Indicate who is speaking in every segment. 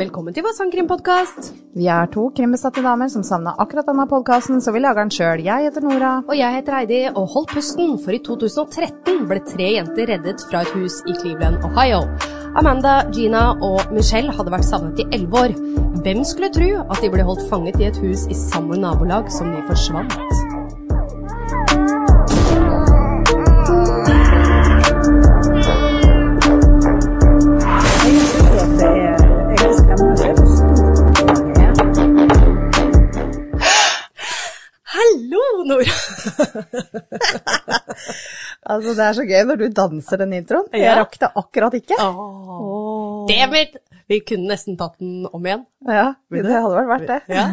Speaker 1: Velkommen til Vassandkrimpodkast.
Speaker 2: Vi er to krimbesatte damer som savna akkurat denne podkasten, så vi lager den sjøl. Jeg heter Nora.
Speaker 1: Og jeg heter Heidi, og hold pusten, for i 2013 ble tre jenter reddet fra et hus i Cleveland, Ohio. Amanda, Gina og Michelle hadde vært savnet i elleve år. Hvem skulle tro at de ble holdt fanget i et hus i samme nabolag som de forsvant? Hallo, Nora!
Speaker 2: Altså, det er så gøy når du danser den introen.
Speaker 1: Ja.
Speaker 2: Jeg rakk det akkurat ikke.
Speaker 1: Dammit! Vi kunne nesten tatt den om igjen.
Speaker 2: Ja, det hadde vel vært det.
Speaker 1: Ja.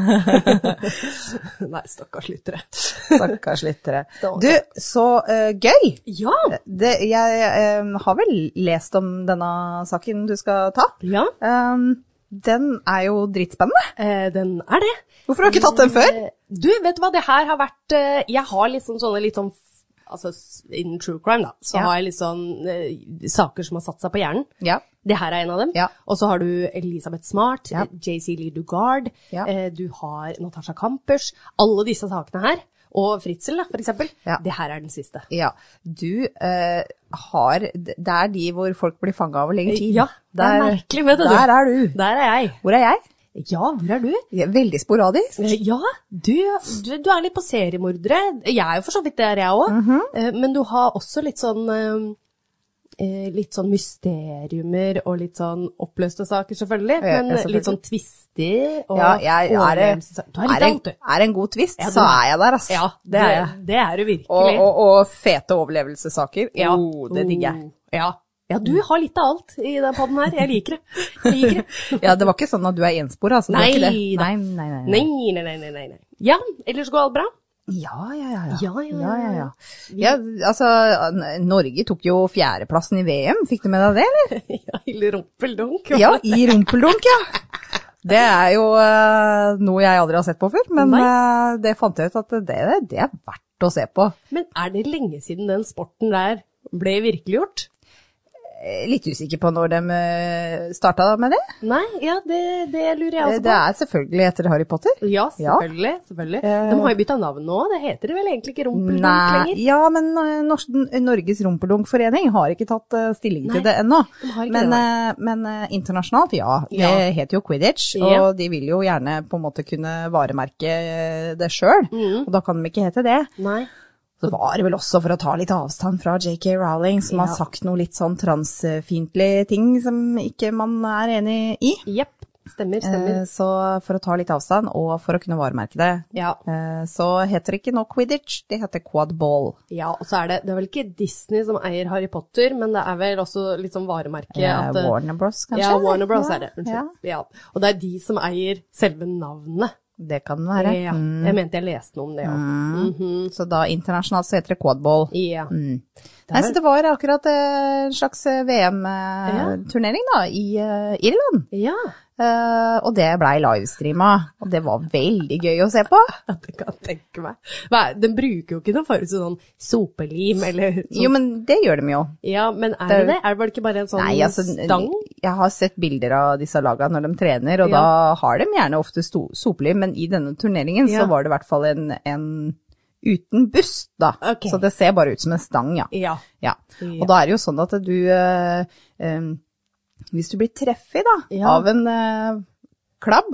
Speaker 1: Nei, stakkars lyttere.
Speaker 2: Stakkars lyttere.
Speaker 1: Stakkars.
Speaker 2: Du, så eh, gøy!
Speaker 1: Ja.
Speaker 2: Det, jeg eh, har vel lest om denne saken du skal ta.
Speaker 1: ja.
Speaker 2: Um, den er jo dritspennende.
Speaker 1: Eh, den er det.
Speaker 2: Hvorfor har du ikke tatt den før?
Speaker 1: Eh, Du, vet du hva, det her har vært eh, Jeg har liksom sånne litt sånn f- Altså s- innen true crime, da, så
Speaker 2: Ja.
Speaker 1: har jeg litt sånn eh, saker som har satt seg på hjernen.
Speaker 2: Ja.
Speaker 1: Det her er en av dem.
Speaker 2: Ja.
Speaker 1: Og så har du Elisabeth Smart,
Speaker 2: Ja.
Speaker 1: eh, JC Lee Dugard,
Speaker 2: Ja.
Speaker 1: eh, du har Natasha Kampers. Alle disse sakene her. Og Fritzel, da, for eksempel.
Speaker 2: Ja.
Speaker 1: Det her er den siste.
Speaker 2: Ja, du eh, har Det er de hvor folk blir fanga over lengre tid.
Speaker 1: Ja, det er merkelig, vet du.
Speaker 2: Der er du.
Speaker 1: Der er jeg.
Speaker 2: Hvor er jeg?
Speaker 1: Ja, hvor er du?
Speaker 2: Jeg er Veldig sporadisk.
Speaker 1: Eh, Ja, du, du, du er litt på seriemordere. Jeg er jo for så vidt der, jeg òg.
Speaker 2: Mhm.
Speaker 1: Men du har også litt sånn eh, eh, Litt sånn mysteriumer og litt sånn oppløste saker, selvfølgelig.
Speaker 2: Ja, ja,
Speaker 1: Men
Speaker 2: selvfølgelig.
Speaker 1: litt sånn twister og
Speaker 2: Ja, jeg er, eh,
Speaker 1: overlevelsessaker. Du er litt
Speaker 2: er, en,
Speaker 1: alt, du.
Speaker 2: er en god twist,
Speaker 1: Ja, du
Speaker 2: så
Speaker 1: er.
Speaker 2: er jeg der, altså.
Speaker 1: Ja,
Speaker 2: det er jeg.
Speaker 1: Det er du virkelig.
Speaker 2: Og, og, og fete overlevelsessaker.
Speaker 1: ja.
Speaker 2: Oh, det digger jeg.
Speaker 1: Oh, Ja. ja, du har litt av alt i den podden her. Jeg liker det. Jeg liker det.
Speaker 2: Ja, det var ikke sånn at du er enspora, altså. det var
Speaker 1: Nei,
Speaker 2: ikke det.
Speaker 1: da.
Speaker 2: Nei, nei, nei, nei.
Speaker 1: Nei, nei, nei, nei, nei. nei. Ja, ellers går alt bra?
Speaker 2: Ja, ja, ja. ja.
Speaker 1: Ja, ja,
Speaker 2: ja,
Speaker 1: ja, ja.
Speaker 2: ja. ja altså, N- Norge tok jo fjerdeplassen i VM, fikk du med deg det, eller?
Speaker 1: Ja, Hilde Rumpeldunk.
Speaker 2: Ja, i rumpeldunk, ja. Det er jo eh, noe jeg aldri har sett på før, men eh, det fant jeg ut at det, det er verdt å se på.
Speaker 1: Men er det lenge siden den sporten der ble virkeliggjort?
Speaker 2: Eh, Litt usikker på når de eh, starta med det.
Speaker 1: Nei, ja, det, det lurer jeg
Speaker 2: Eh,
Speaker 1: også
Speaker 2: Det
Speaker 1: altså på.
Speaker 2: er selvfølgelig etter Harry Potter.
Speaker 1: Ja,
Speaker 2: Ja.
Speaker 1: selvfølgelig. selvfølgelig.
Speaker 2: Eh.
Speaker 1: De har jo bytta navn nå, det heter det vel egentlig ikke Rumpeldunk
Speaker 2: Nei,
Speaker 1: lenger?
Speaker 2: ja, men eh, Nors- Norges Rumpeldunk-forening har ikke tatt eh, stilling
Speaker 1: Nei,
Speaker 2: til det ennå.
Speaker 1: de har ikke
Speaker 2: Men,
Speaker 1: det,
Speaker 2: eh, men eh, internasjonalt, ja. Det
Speaker 1: Ja.
Speaker 2: heter jo quidditch,
Speaker 1: Ja.
Speaker 2: og de vil jo gjerne på en måte kunne varemerke eh, det sjøl.
Speaker 1: Mm.
Speaker 2: Og da kan de ikke hete det.
Speaker 1: Nei.
Speaker 2: Så var det vel også for å ta litt avstand fra JK Rowling, som
Speaker 1: Ja.
Speaker 2: har sagt noe litt sånn transfiendtlig ting som ikke man er enig i.
Speaker 1: Jepp. Stemmer, stemmer.
Speaker 2: Eh, Så for å ta litt avstand, og for å kunne varemerke det,
Speaker 1: ja.
Speaker 2: eh, så heter det ikke nå quidditch, det heter quadball.
Speaker 1: ja, og så er det Det er vel ikke Disney som eier Harry Potter, men det er vel også litt sånn varemerke
Speaker 2: Ja,
Speaker 1: at eh,
Speaker 2: Warner Bros, kanskje?
Speaker 1: Ja, Warner Bros
Speaker 2: Ja,
Speaker 1: er det. Unnskyld. Ja. Og det er de som eier selve navnet. Eh,
Speaker 2: Ja, det kan det være.
Speaker 1: Ja,
Speaker 2: Mm.
Speaker 1: jeg mente jeg leste noe om det òg.
Speaker 2: Så da internasjonalt så heter det quadball.
Speaker 1: Ja.
Speaker 2: Mm.
Speaker 1: er
Speaker 2: Nei,
Speaker 1: vel-
Speaker 2: så det var akkurat eh, en slags VM-turnering da, i eh, Irland.
Speaker 1: ja.
Speaker 2: Eh, og det blei livestreama, og det var veldig gøy å se på.
Speaker 1: Ja, det kan jeg tenke meg. Hva er- Den bruker jo ikke noe form for sånn sopelim eller sånn.
Speaker 2: Jo, men det gjør de jo.
Speaker 1: Ja, men er det det? Er det bare ikke bare en sånn
Speaker 2: Nei, altså,
Speaker 1: stang?
Speaker 2: jeg har sett bilder av disse laga når de trener, og
Speaker 1: Ja.
Speaker 2: da har de gjerne ofte sto- sopelim, men i denne turneringen
Speaker 1: Ja.
Speaker 2: så var det i hvert fall en, en uten bust, da.
Speaker 1: Ok.
Speaker 2: Så det ser bare ut som en stang, ja.
Speaker 1: Ja.
Speaker 2: ja.
Speaker 1: Ja.
Speaker 2: Og da er det jo sånn at du eh, eh, Hvis du blir treffet da,
Speaker 1: Ja.
Speaker 2: av en eh, klabb,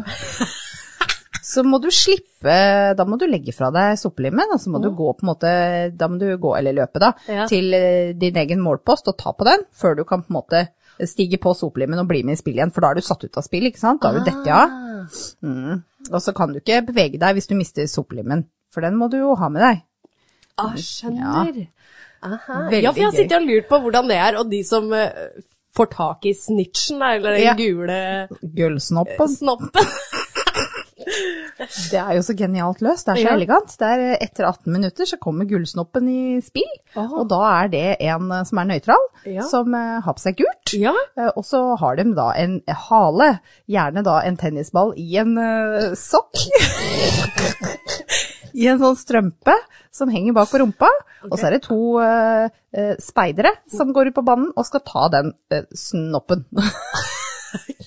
Speaker 2: så må du slippe Da må du legge fra deg soppelimen, og så må du gå på en måte Da må du gå, eller løpe, da,
Speaker 1: Ja.
Speaker 2: til eh, din egen målpost og ta på den, før du kan på en måte stige på soppelimen og bli med i spill igjen, for da er du satt ut av spill, ikke sant? Da er du dette av.
Speaker 1: Ah.
Speaker 2: Mm. Og så kan du ikke bevege deg hvis du mister soppelimen, for den må du jo ha med deg.
Speaker 1: Ah, skjønner. Aha.
Speaker 2: Veldig
Speaker 1: Ja, for jeg har
Speaker 2: gøy.
Speaker 1: sittet og lurt på hvordan det er, og de som eh, får tak i snitchen, da, eller den
Speaker 2: Ja.
Speaker 1: gule
Speaker 2: Gullsnoppen.
Speaker 1: snoppen.
Speaker 2: Det er jo så genialt løst, det er så
Speaker 1: Ja.
Speaker 2: elegant. Det er eh, etter 18 minutter så kommer gullsnoppen i spill,
Speaker 1: Aha.
Speaker 2: og da er det en eh, som er nøytral,
Speaker 1: Ja.
Speaker 2: som eh, har på seg gult.
Speaker 1: Ja,
Speaker 2: eh, Og så har de da en hale, gjerne da en tennisball i en eh, sokk. I en sånn strømpe som henger bak på rumpa. Og så er det to eh, eh, speidere som går ut på banen og skal ta den eh, snoppen.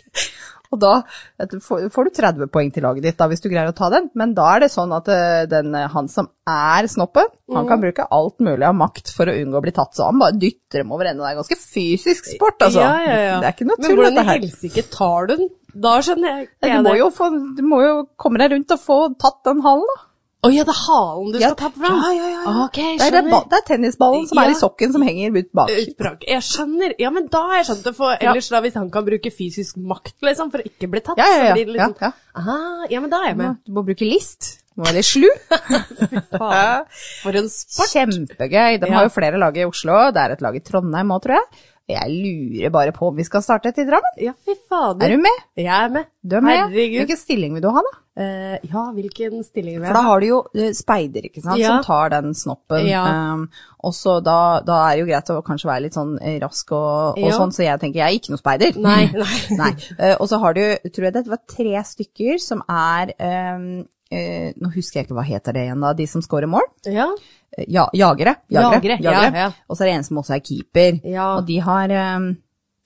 Speaker 2: Og da et- får får du 30 poeng til laget ditt da, hvis du greier å ta den. Men da er det sånn at eh, den, eh, han som er snoppen, han
Speaker 1: Mm.
Speaker 2: kan bruke alt mulig av makt for å unngå å bli tatt. Så han bare dytter dem over ende. Det er ganske fysisk sport, altså.
Speaker 1: Ja, ja, ja.
Speaker 2: Det er ikke noe
Speaker 1: Men
Speaker 2: tull,
Speaker 1: hvordan
Speaker 2: dette
Speaker 1: i
Speaker 2: her.
Speaker 1: helsike tar du den? Da skjønner jeg ikke
Speaker 2: Du må, jo få, du må jo komme deg rundt og få tatt den halen, da.
Speaker 1: Å ja, det er halen du
Speaker 2: Ja,
Speaker 1: skal ta fram?
Speaker 2: ja, ja, ja, ja.
Speaker 1: Ok, jeg
Speaker 2: Det er, den
Speaker 1: skjønner.
Speaker 2: ba- det er tennisballen som er i
Speaker 1: Ja.
Speaker 2: sokken som henger ut bak.
Speaker 1: Utbrak. Jeg skjønner. Ja, men da har jeg skjønt det. For ellers da, hvis han kan bruke fysisk makt, liksom, for å ikke bli tatt,
Speaker 2: Ja, ja, ja.
Speaker 1: så blir det
Speaker 2: ja,
Speaker 1: liksom
Speaker 2: ja.
Speaker 1: Ah, ja, men da er jeg med.
Speaker 2: Du må bruke list. Du må være litt slu.
Speaker 1: Faen, for en sport.
Speaker 2: Kjempegøy. De
Speaker 1: Ja.
Speaker 2: har jo flere lag i Oslo. Det er et lag i Trondheim òg, tror jeg. Jeg lurer bare på om vi skal starte et i Drammen.
Speaker 1: Ja, fy fader.
Speaker 2: Er du med?
Speaker 1: Jeg er med.
Speaker 2: Du er med? ja.
Speaker 1: Herregud.
Speaker 2: Hvilken stilling vil du ha, da?
Speaker 1: Eh, ja, hvilken stilling vil
Speaker 2: For da har du jo eh, speider, ikke sant,
Speaker 1: Ja.
Speaker 2: som tar den snoppen.
Speaker 1: Ja.
Speaker 2: Um, og så da, da er det jo greit å kanskje være litt sånn eh, rask og, og
Speaker 1: Ja.
Speaker 2: sånn, så jeg tenker jeg er ikke noe speider.
Speaker 1: Nei, nei.
Speaker 2: Nei. Eh, og så har du, tror jeg det var tre stykker som er ehm, eh, Nå husker jeg ikke hva heter det igjen, da. De som scorer mål?
Speaker 1: Ja.
Speaker 2: Eh, ja, jagere.
Speaker 1: Jagere, ja, ja.
Speaker 2: Og så er det en som også er keeper.
Speaker 1: Ja.
Speaker 2: Og de har ehm,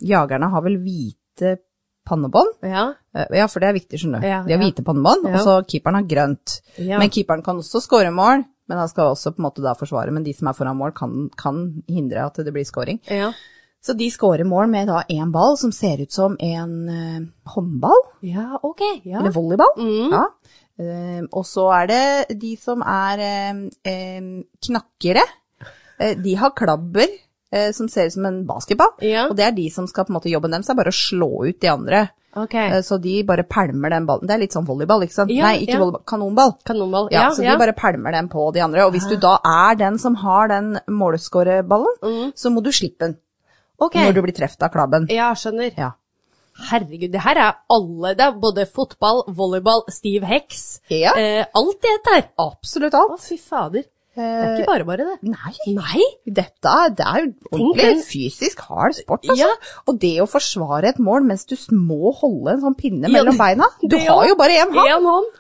Speaker 2: Jagerne har vel hvite pannebånd?
Speaker 1: ja.
Speaker 2: Eh, Ja, for det er viktig, skjønner du.
Speaker 1: Ja,
Speaker 2: de har
Speaker 1: ja.
Speaker 2: hvite pannebånd,
Speaker 1: Ja.
Speaker 2: og så keeperen har grønt.
Speaker 1: Ja.
Speaker 2: Men keeperen kan også skåre mål, men han skal også på en måte da forsvare. Men de som er foran mål, kan, kan hindre at det blir skåring.
Speaker 1: Ja.
Speaker 2: Så de skårer mål med da én ball som ser ut som en eh, håndball,
Speaker 1: ja, ok. Ja.
Speaker 2: eller volleyball.
Speaker 1: Mm.
Speaker 2: Ja. Eh, og så er det de som er eh, eh, knakkere. Eh, de har klabber eh, som ser ut som en basketball.
Speaker 1: Ja.
Speaker 2: Og det er de som skal på en måte jobben deres, er bare å slå ut de andre.
Speaker 1: Ok.
Speaker 2: Eh, så de bare pælmer den ballen. Det er litt sånn volleyball, ikke sant?
Speaker 1: Ja,
Speaker 2: Nei, ikke
Speaker 1: ja.
Speaker 2: volleyball, kanonball.
Speaker 1: Kanonball.
Speaker 2: Ja,
Speaker 1: Ja,
Speaker 2: så
Speaker 1: ja. Ah.
Speaker 2: de bare pælmer den på de andre. Og hvis du da er den som har den målskåreballen,
Speaker 1: Mm.
Speaker 2: så må du slippe den
Speaker 1: Ok.
Speaker 2: når du blir truffet av klabben.
Speaker 1: Ja, skjønner.
Speaker 2: Ja.
Speaker 1: Herregud, det her er alle. Det er både fotball, volleyball, stiv heks.
Speaker 2: Ja.
Speaker 1: Eh, alt det der.
Speaker 2: Absolutt
Speaker 1: Å,
Speaker 2: alt.
Speaker 1: fy fader. Det er
Speaker 2: Eh,
Speaker 1: ikke bare bare, det.
Speaker 2: nei,
Speaker 1: Nei.
Speaker 2: dette er, det er jo
Speaker 1: den-
Speaker 2: ordentlig fysisk hard sport, altså.
Speaker 1: Ja.
Speaker 2: Og det å forsvare et mål mens du må holde en sånn
Speaker 1: Ja,
Speaker 2: pinne mellom beina Du
Speaker 1: det
Speaker 2: har
Speaker 1: òg.
Speaker 2: jo bare én hånd.
Speaker 1: Én hånd.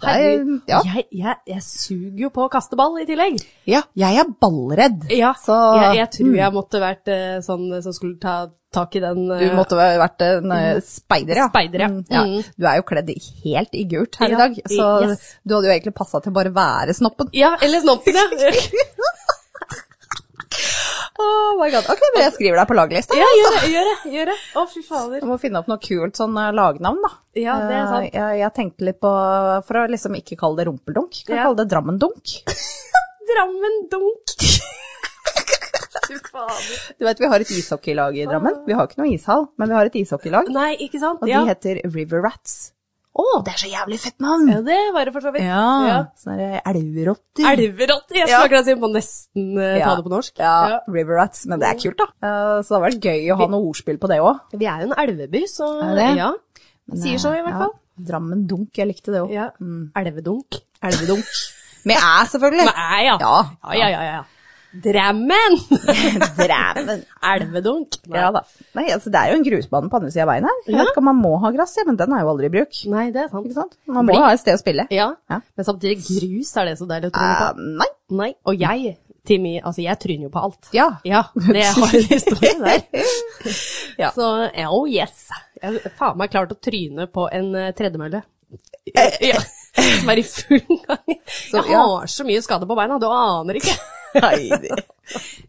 Speaker 2: Det er-
Speaker 1: Herregud.
Speaker 2: ja.
Speaker 1: Jeg, jeg, jeg suger jo på å kaste ball i tillegg.
Speaker 2: Ja, jeg er ballredd.
Speaker 1: Ja,
Speaker 2: Så Mm.
Speaker 1: jeg, jeg tror jeg måtte vært eh, sånn eh, som skulle ta tak i den eh,
Speaker 2: Du måtte ha vært en eh, speider, ja.
Speaker 1: Mm. Speider, ja.
Speaker 2: Mm, ja.
Speaker 1: Mm.
Speaker 2: Du er jo kledd i- helt i gult her
Speaker 1: Ja,
Speaker 2: i dag, så
Speaker 1: yes.
Speaker 2: du hadde jo egentlig passa til å bare være snoppen.
Speaker 1: Ja, eller sånn snoppen, ja.
Speaker 2: Oh my god. Ok, men jeg skriver deg på laglista.
Speaker 1: ja gjør det, gjør det. gjør det. Å, fy fader.
Speaker 2: Jeg må finne opp noe kult sånn eh, lagnavn, da.
Speaker 1: Ja, det er sant.
Speaker 2: Eh, Jeg, jeg tenkte litt på, for å liksom ikke kalle det rumpeldunk, kan
Speaker 1: Ja.
Speaker 2: kalle det drammendunk.
Speaker 1: Drammen dunk. Fy fader.
Speaker 2: Du vet, vi har et ishockeylag i Drammen. Vi har ikke noe ishall, men vi har et ishockeylag,
Speaker 1: Nei, ikke sant?
Speaker 2: og de
Speaker 1: Ja.
Speaker 2: heter River Rats. Å, det er så jævlig fett navn!
Speaker 1: ja, det var det for så vidt.
Speaker 2: Ja,
Speaker 1: Ja.
Speaker 2: sånne elverotter.
Speaker 1: Elverotte. Jeg
Speaker 2: Ja.
Speaker 1: skulle akkurat si på nesten eh, ta
Speaker 2: Ja.
Speaker 1: det på norsk.
Speaker 2: Ja, River Rats, men det er kult da. Eh, Så det hadde vært gøy å ha noe ordspill på det også.
Speaker 1: Vi er jo en elveby, så
Speaker 2: Er det?
Speaker 1: ja.
Speaker 2: Men,
Speaker 1: Sier så, i
Speaker 2: eh, Mm.
Speaker 1: hvert
Speaker 2: ja,
Speaker 1: fall.
Speaker 2: Drammen Dunk, jeg likte det også.
Speaker 1: ja. Elvedunk.
Speaker 2: Elvedunk. Med æ, selvfølgelig.
Speaker 1: Med æ, ja.
Speaker 2: Ja.
Speaker 1: Ja, ja, ja. ja. Drammen!
Speaker 2: Drammen.
Speaker 1: Elvedunk.
Speaker 2: Ja da. Nei, altså det er jo en grusbane på andre siden av veien her. Jeg vet ikke om man må ha gress, ja, men den er jo aldri i bruk.
Speaker 1: Nei, det er sant.
Speaker 2: Ikke sant? Man må jo ha et sted å spille.
Speaker 1: Ja.
Speaker 2: Ja.
Speaker 1: men samtidig grus er det så deilig å tryne
Speaker 2: Eh,
Speaker 1: på.
Speaker 2: nei.
Speaker 1: Nei, og jeg, Timmy, altså jeg tryner jo på alt.
Speaker 2: Ja.
Speaker 1: Ja, det har en historie der.
Speaker 2: Ja.
Speaker 1: Så, ja, oh yes. Jeg har faen meg klart å tryne på en eh, tredemølle. Ja, som er i full gang. Jeg
Speaker 2: Eh, ja.
Speaker 1: har så mye skade på beina, du aner ikke.
Speaker 2: Nei, det-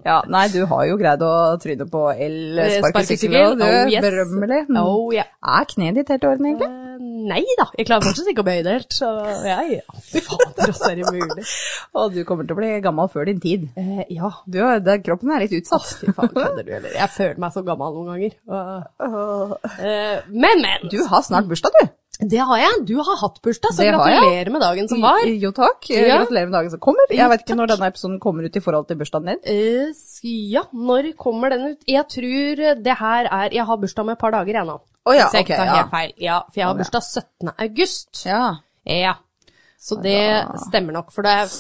Speaker 2: ja, nei, du har jo greid å tryne på el-sparkesykkel,
Speaker 1: Sparkesykkel,
Speaker 2: og du
Speaker 1: oh yes.
Speaker 2: berømmelig. Mm.
Speaker 1: Oh, ja.
Speaker 2: Er kneet ditt helt i orden, egentlig?
Speaker 1: Eh, Nei da, jeg klarer fortsatt ikke å bøye det helt, så jeg Fy fader, altså, er det mulig?
Speaker 2: Og du kommer til å bli gammel før din tid.
Speaker 1: Eh, ja.
Speaker 2: Du, har- det, kroppen er litt utsatt.
Speaker 1: Fy faen, kødder du, eller? Jeg føler meg så gammel noen ganger. Og, eh, men, men!
Speaker 2: Du har snart bursdag, du.
Speaker 1: Det har jeg. Du har hatt bursdag, så
Speaker 2: Det har jeg. Mm.
Speaker 1: gratulerer med dagen som var.
Speaker 2: Jo, takk.
Speaker 1: Ja.
Speaker 2: Gratulerer med dagen som kommer. Jeg vet ikke
Speaker 1: takk.
Speaker 2: når denne episoden kommer ut i forhold til bursdagen din.
Speaker 1: Eh, s- ja, når kommer den ut? Jeg tror det her er Jeg har bursdag om et par dager, jeg nå.
Speaker 2: Å ja,
Speaker 1: Hvis jeg ikke
Speaker 2: ok,
Speaker 1: tar
Speaker 2: ja.
Speaker 1: helt feil. Ja, for jeg har bursdag 17. august.
Speaker 2: Ja.
Speaker 1: Ja. Så det stemmer nok, for det er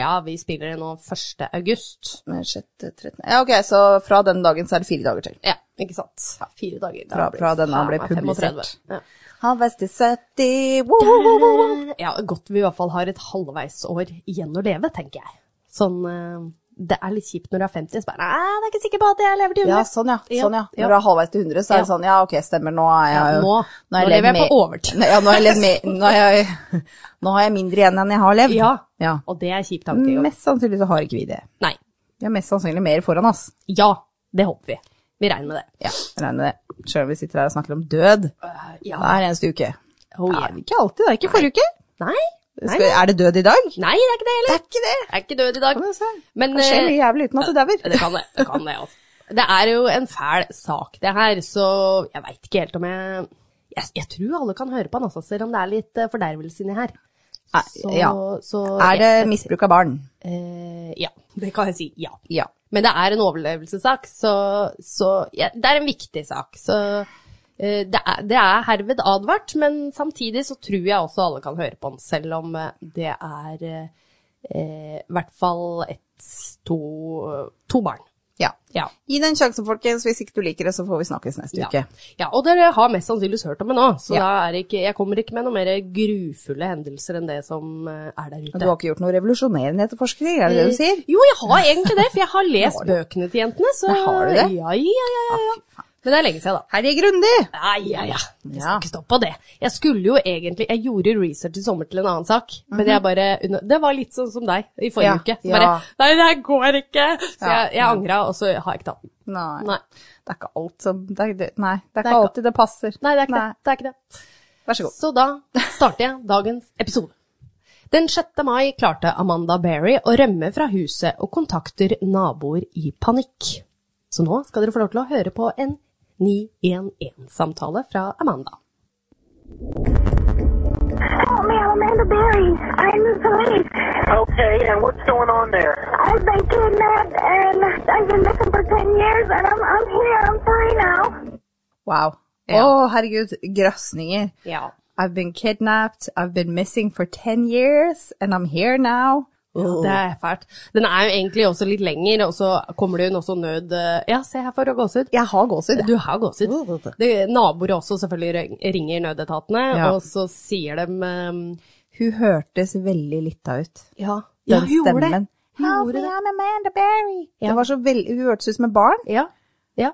Speaker 1: Ja, vi spiller det nå 1. august.
Speaker 2: Men 6., 13. Ja, ok, så fra den dagen så er det fire dager til.
Speaker 1: Ja, ikke sant. Fire dager. Da
Speaker 2: Fra- fra denne
Speaker 1: faen
Speaker 2: ble
Speaker 1: meg 35.
Speaker 2: publisert.
Speaker 1: Ja.
Speaker 2: Halvveis til 70, wow, wow, wow, wow.
Speaker 1: Ja, godt vi i hvert fall har et halvveisår igjen å leve, tenker jeg. Sånn eh, det er litt kjipt når du er 50, så bare Nei, jeg er ikke sikker på at jeg lever til 100.
Speaker 2: Ja, sånn ja. Sånn, ja.
Speaker 1: Ja.
Speaker 2: Når du er halvveis til 100, så er det sånn ja, ok, stemmer, nå er jeg
Speaker 1: Ja,
Speaker 2: jo
Speaker 1: nå,
Speaker 2: nå er
Speaker 1: nå
Speaker 2: jeg
Speaker 1: lever jeg
Speaker 2: mer-
Speaker 1: på overtid.
Speaker 2: Ja, nå har jeg levd mer nå, har jeg, nå har jeg mindre igjen enn jeg har levd.
Speaker 1: Ja,
Speaker 2: Ja.
Speaker 1: og det er kjip tanke. jo.
Speaker 2: Mest sannsynlig så har ikke vi det.
Speaker 1: Nei.
Speaker 2: Vi har mest sannsynlig mer foran oss.
Speaker 1: Ja, det håper vi. Vi regner med det.
Speaker 2: Ja, jeg regner med det. Selv om vi sitter her og snakker om død
Speaker 1: Øh, ja.
Speaker 2: hver eneste uke.
Speaker 1: Oh,
Speaker 2: Ja,
Speaker 1: yeah.
Speaker 2: ikke alltid, det er ikke forrige uke.
Speaker 1: Nei. Nei,
Speaker 2: Skal, er det død i dag?
Speaker 1: Nei, det er ikke det heller.
Speaker 2: er ikke det.
Speaker 1: Jeg er ikke død i dag.
Speaker 2: Kan du se.
Speaker 1: Men
Speaker 2: Det skjer
Speaker 1: eh,
Speaker 2: mye jævlig uten at du dauer.
Speaker 1: det kan det. Det kan det, altså. Det er jo en fæl sak, det her, så jeg veit ikke helt om jeg jeg, jeg tror alle kan høre på han, altså, selv om det er litt eh, fordervelse inni her.
Speaker 2: Nei,
Speaker 1: Så,
Speaker 2: ja.
Speaker 1: så-
Speaker 2: Er det misbruk av barn?
Speaker 1: Eh, ja, det kan jeg si. Ja.
Speaker 2: Ja.
Speaker 1: Men det er en overlevelsessak, så, så ja, det er en viktig sak. Så eh, det er, det er herved advart, men samtidig så tror jeg også alle kan høre på den, selv om eh, det er eh, eh, i hvert fall ett, to, to barn.
Speaker 2: ja.
Speaker 1: Ja.
Speaker 2: Gi det en sjanse, folkens. Hvis ikke du liker det, så får vi snakkes neste
Speaker 1: Ja.
Speaker 2: uke.
Speaker 1: ja, og dere har mest sannsynligvis hørt om det nå, så
Speaker 2: Ja.
Speaker 1: da er det ikke, jeg kommer ikke med noen mer grufulle hendelser enn det som eh, er der ute.
Speaker 2: Men du har ikke gjort noe revolusjonerende etterforskning, er det det du sier?
Speaker 1: Jo, jeg har egentlig det, for jeg har lest bøkene til jentene. Så...
Speaker 2: Nei, har du det? Ah,
Speaker 1: Ja, ja, ja, ja, ja. Men det er lenge siden, da.
Speaker 2: Herje Grundig!
Speaker 1: Nei, ja, ja. Jeg skal
Speaker 2: Ja.
Speaker 1: ikke stå på det. Jeg skulle jo egentlig Jeg gjorde research i sommer til en annen sak, men jeg bare Det var litt sånn som deg i forrige
Speaker 2: Mhm. Ja,
Speaker 1: uke. Så
Speaker 2: ja.
Speaker 1: bare Nei, det her går ikke! Så
Speaker 2: Ja.
Speaker 1: jeg, jeg angra, og så har jeg ikke tatt den.
Speaker 2: Nei.
Speaker 1: Nei.
Speaker 2: Det er ikke alt som det er, det, Nei, det er
Speaker 1: er
Speaker 2: ikke
Speaker 1: ikke-
Speaker 2: alltid det passer.
Speaker 1: Nei, det er ikke det. det, er ikke det.
Speaker 2: Vær så god.
Speaker 1: Så da starter jeg dagens episode. Den 6. mai klarte Amanda Berry å rømme fra huset og kontakter naboer i panikk. Så nå skal dere få lov til å høre på en 911-samtale fra Amanda.
Speaker 3: Help me, I'm Amanda Berry. I'm the police.
Speaker 4: Okay, and what's going on there?
Speaker 3: I've been kidnapped and I've been missing for 10 years and I'm, I'm here. I'm free now.
Speaker 2: Wow. Å, herregud. Grøsninger.
Speaker 1: Ja.
Speaker 2: I've been kidnapped, I've been missing for 10 years, and I'm here now.
Speaker 1: Det er fælt. Den er jo egentlig også litt lenger, og så kommer det jo en også nød... eh, Ja, se her for å gåsehud.
Speaker 2: Jeg har gåsehud.
Speaker 1: Du har gåsehud. Det- Naboer også selvfølgelig ringer nødetatene,
Speaker 2: Ja.
Speaker 1: og så sier de ehm,
Speaker 2: Hun hørtes veldig lita ut.
Speaker 1: Ja,
Speaker 2: Den
Speaker 1: ja hun gjorde det.
Speaker 2: stemmen.
Speaker 1: Hun
Speaker 2: Help
Speaker 1: gjorde
Speaker 2: me,
Speaker 1: det.
Speaker 2: I'm Amanda Berry.
Speaker 1: Ja.
Speaker 2: Det var så veld... Hun hørtes ut som et barn.
Speaker 1: Ja, ja.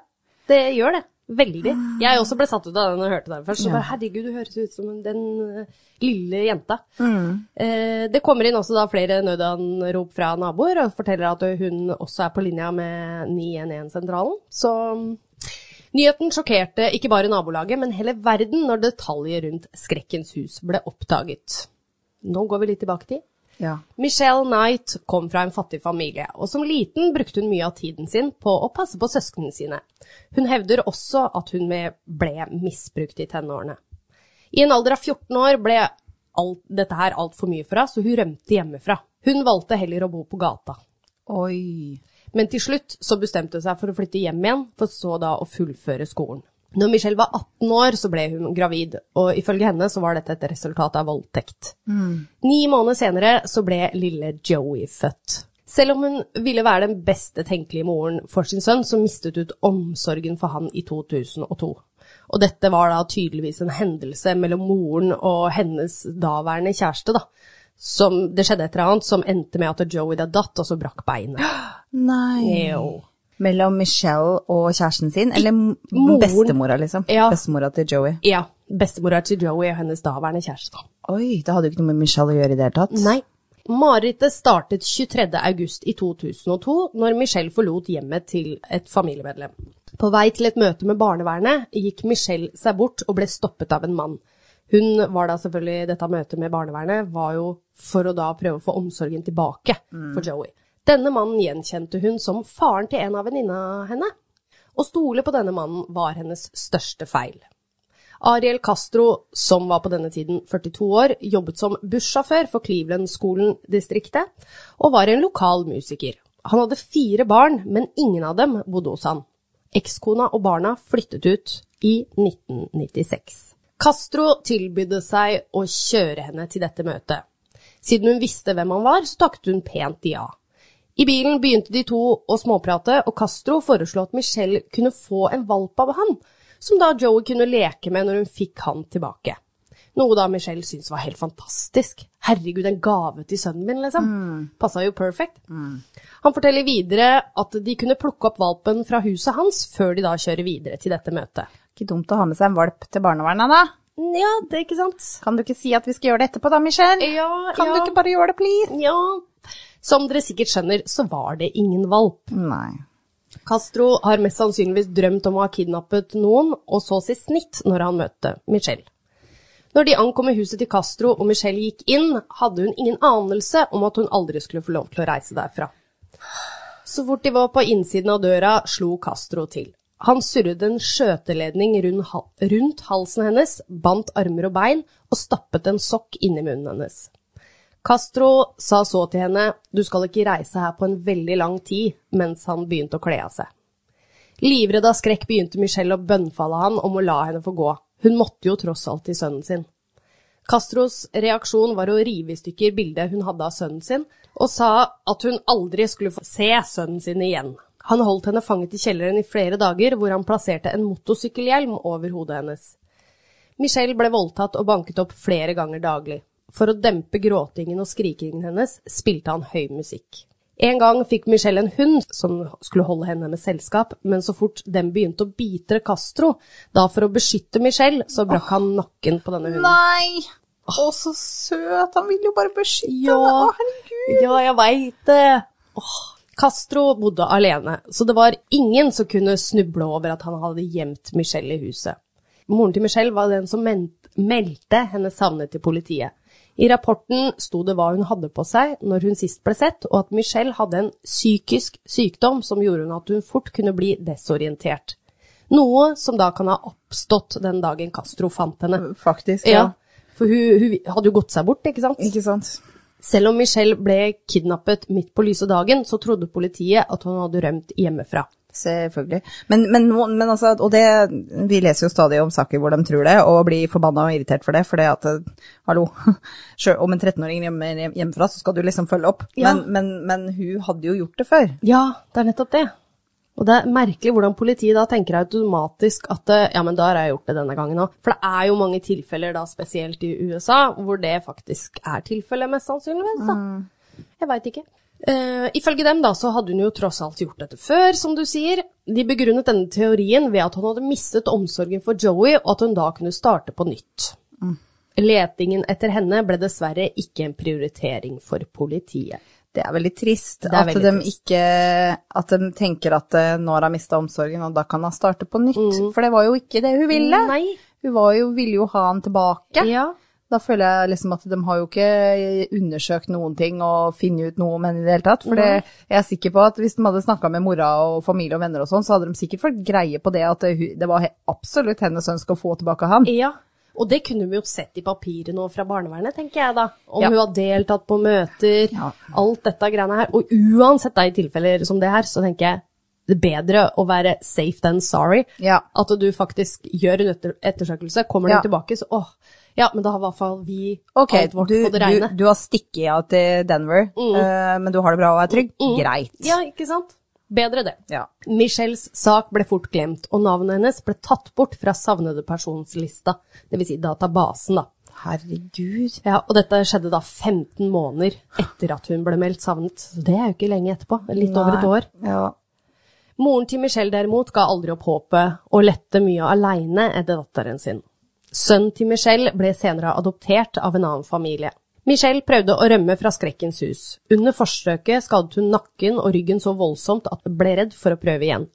Speaker 1: Det gjør det. Veldig. Jeg også ble satt ut av den og hørte den først. Så
Speaker 2: Ja.
Speaker 1: bare, herregud, du høres ut som den eh, lille jenta. Eh, det kommer inn også da flere nødanrop fra naboer og forteller at hun også er på linja med 911-sentralen. Så mm, nyheten sjokkerte ikke bare nabolaget, men hele verden når detaljer rundt Skrekkens hus ble oppdaget. Nå går vi litt tilbake til
Speaker 2: Ja.
Speaker 1: Michelle Knight kom fra en fattig familie, og som liten brukte hun mye av tiden sin på å passe på søsknene sine. Hun hevder også at hun med- ble misbrukt i tenårene. I en alder av 14 år ble alt, dette her altfor mye for henne, så hun rømte hjemmefra. Hun valgte heller å bo på gata.
Speaker 2: Oi.
Speaker 1: Men til slutt så bestemte hun seg for å flytte hjem igjen, for så da å fullføre skolen. Når Michelle var 18 år, så ble hun gravid, og ifølge henne så var dette et resultat av voldtekt. Ni måneder senere så ble lille Joey født. Selv om hun ville være den beste tenkelige moren for sin sønn, så mistet hun omsorgen for han i 2002. Og dette var da tydeligvis en hendelse mellom moren og hennes daværende kjæreste, da. Som, det skjedde et eller annet som endte med at Joey da datt, og så brakk beinet.
Speaker 2: Nei.
Speaker 1: Jo.
Speaker 2: Mellom Michelle og kjæresten sin, eller m-
Speaker 1: Moren.
Speaker 2: bestemora, liksom.
Speaker 1: Ja.
Speaker 2: Bestemora til Joey.
Speaker 1: Ja. Bestemora til Joey og hennes daværende kjæreste.
Speaker 2: Oi, det hadde jo ikke noe med Michelle å gjøre i det hele tatt.
Speaker 1: Nei. Marerittet startet 23. august i 2002, når Michelle forlot hjemmet til et familiemedlem. På vei til et møte med barnevernet gikk Michelle seg bort og ble stoppet av en mann. Hun var da selvfølgelig, Dette møtet med barnevernet var jo for å da prøve å få omsorgen tilbake for Joey. Denne mannen gjenkjente hun som faren til en av venninna henne. Å stole på denne mannen var hennes største feil. Ariel Castro, som var på denne tiden 42 år, jobbet som bussjåfør for Cleveland-skolen-distriktet, og var en lokal musiker. Han hadde fire barn, men ingen av dem bodde hos han. Ekskona og barna flyttet ut i 1996. Castro tilbydde seg å kjøre henne til dette møtet. Siden hun visste hvem han var, så takket hun pent ja. I bilen begynte de to å småprate, og Castro foreslo at Michelle kunne få en valp av han, som da Joey kunne leke med når hun fikk han tilbake. Noe da Michelle syntes var helt fantastisk. Herregud, en gave til sønnen min, liksom. Passa jo perfect. Han forteller videre at de kunne plukke opp valpen fra huset hans før de da kjører videre til dette møtet.
Speaker 2: Ikke dumt å ha med seg en valp til barnevernet, da.
Speaker 1: Ja, det er ikke sant?
Speaker 2: Kan du ikke si at vi skal gjøre det etterpå, da, Michelle?
Speaker 1: Ja,
Speaker 2: kan
Speaker 1: ja.
Speaker 2: du ikke bare gjøre det, please?
Speaker 1: Ja. Som dere sikkert skjønner, så var det ingen valp.
Speaker 2: Nei.
Speaker 1: Castro har mest sannsynligvis drømt om å ha kidnappet noen, og så sitt snitt når han møtte Michelle. Når de ankommer huset til Castro og Michelle gikk inn, hadde hun ingen anelse om at hun aldri skulle få lov til å reise derfra. Så fort de var på innsiden av døra, slo Castro til. Han surret en skjøteledning rundt hal- rundt halsen hennes, bandt armer og bein og stappet en sokk inni munnen hennes. Castro sa så til henne, du skal ikke reise her på en veldig lang tid, mens han begynte å kle av seg. Livredd av skrekk begynte Michelle å bønnfalle han om å la henne få gå. Hun måtte jo tross alt til sønnen sin. Castros reaksjon var å rive i stykker bildet hun hadde av sønnen sin, og sa at hun aldri skulle få se sønnen sin igjen. Han holdt henne fanget i kjelleren i flere dager, hvor han plasserte en motorsykkelhjelm over hodet hennes. Michelle ble voldtatt og banket opp flere ganger daglig. For å dempe gråtingen og skrikingen hennes spilte han høy musikk. En gang fikk Michelle en hund som skulle holde henne med selskap, men så fort den begynte å bite Castro, da for å beskytte Michelle, så brakk han nakken på denne hunden.
Speaker 2: Nei! Å, så søt! Han vil jo bare beskytte
Speaker 1: Ja.
Speaker 2: henne. Å, herregud!
Speaker 1: Ja, jeg veit det. Åh. Castro bodde alene, så det var ingen som kunne snuble over at han hadde gjemt Michelle i huset. Moren til Michelle var den som men- meldte henne savnet til politiet. I rapporten sto det hva hun hadde på seg når hun sist ble sett, og at Michelle hadde en psykisk sykdom som gjorde hun at hun fort kunne bli desorientert. Noe som da kan ha oppstått den dagen Castro fant henne.
Speaker 2: Faktisk, ja.
Speaker 1: Ja, for hun, hun hadde jo gått seg bort, ikke sant?
Speaker 2: Ikke sant?
Speaker 1: Selv om Michelle ble kidnappet midt på lyse dagen, så trodde politiet at hun hadde rømt hjemmefra.
Speaker 2: Selvfølgelig. Men, men, noen- men altså, og det, vi leser jo stadig om saker hvor de tror det, og blir forbanna og irritert for det, for det at eh, hallo, selv om en 13-åring rømmer hjem- hjemmefra, så skal du liksom følge opp.
Speaker 1: Ja.
Speaker 2: Men, men, men hun hadde jo gjort det før.
Speaker 1: Ja, det er nettopp det. Og det er merkelig hvordan politiet da tenker automatisk at eh, ja, men da har jeg gjort det denne gangen òg. For det er jo mange tilfeller da, spesielt i USA, hvor det faktisk er tilfellet, mest sannsynligvis. da. Jeg veit ikke. Eh, ifølge dem da, så hadde hun jo tross alt gjort dette før, som du sier. De begrunnet denne teorien ved at hun hadde mistet omsorgen for Joey, og at hun da kunne starte på nytt. Letingen etter henne ble dessverre ikke en prioritering for politiet.
Speaker 2: Det er veldig trist
Speaker 1: er
Speaker 2: at,
Speaker 1: veldig
Speaker 2: de
Speaker 1: trist.
Speaker 2: Ikke, at de tenker at eh, nå har hun mista omsorgen, og da kan hun starte på nytt. For det var jo ikke det hun ville.
Speaker 1: Mm. Nei.
Speaker 2: Hun var jo, ville jo ha han tilbake.
Speaker 1: Ja.
Speaker 2: Da føler jeg liksom at de har jo ikke eh, undersøkt noen ting og funnet ut noe om henne i det hele tatt. For det, jeg er sikker på at hvis de hadde snakka med mora og familie og venner og sånn, så hadde de sikkert fått greie på det at det, hu- det var he- absolutt hennes ønske å få tilbake han.
Speaker 1: Ja, og det kunne vi jo sett i papiret nå fra barnevernet, tenker jeg da. Om
Speaker 2: Ja.
Speaker 1: hun har deltatt på møter,
Speaker 2: Ja.
Speaker 1: alt dette greiene her. Og uansett da i tilfeller som det her, så tenker jeg det er bedre å være safe than sorry.
Speaker 2: Ja.
Speaker 1: At du faktisk gjør en etter ettersøkelse, kommer
Speaker 2: Ja.
Speaker 1: den tilbake, så åh, ja, men da har i hvert fall vi
Speaker 2: Ok,
Speaker 1: alt vårt
Speaker 2: du,
Speaker 1: på det
Speaker 2: du,
Speaker 1: reine.
Speaker 2: du har stikket av til Denver, eh, men du har det bra og er trygg? Greit.
Speaker 1: Mm. Ja, ikke sant? Bedre det.
Speaker 2: Ja.
Speaker 1: Michelles sak ble fort glemt, og navnet hennes ble tatt bort fra savnede personslista, dvs. Si databasen, da.
Speaker 2: Herregud.
Speaker 1: Ja, og dette skjedde da 15 måneder etter at hun ble meldt savnet. Så det er jo ikke lenge etterpå. Litt over et
Speaker 2: Nei.
Speaker 1: år.
Speaker 2: Ja.
Speaker 1: Moren til Michelle derimot ga aldri opp håpet og lette mye aleine etter datteren sin. Sønnen til Michelle ble senere adoptert av en annen familie. Michelle prøvde å rømme fra skrekkens hus. Under forsøket skadet hun nakken og ryggen så voldsomt at hun ble redd for å prøve igjen.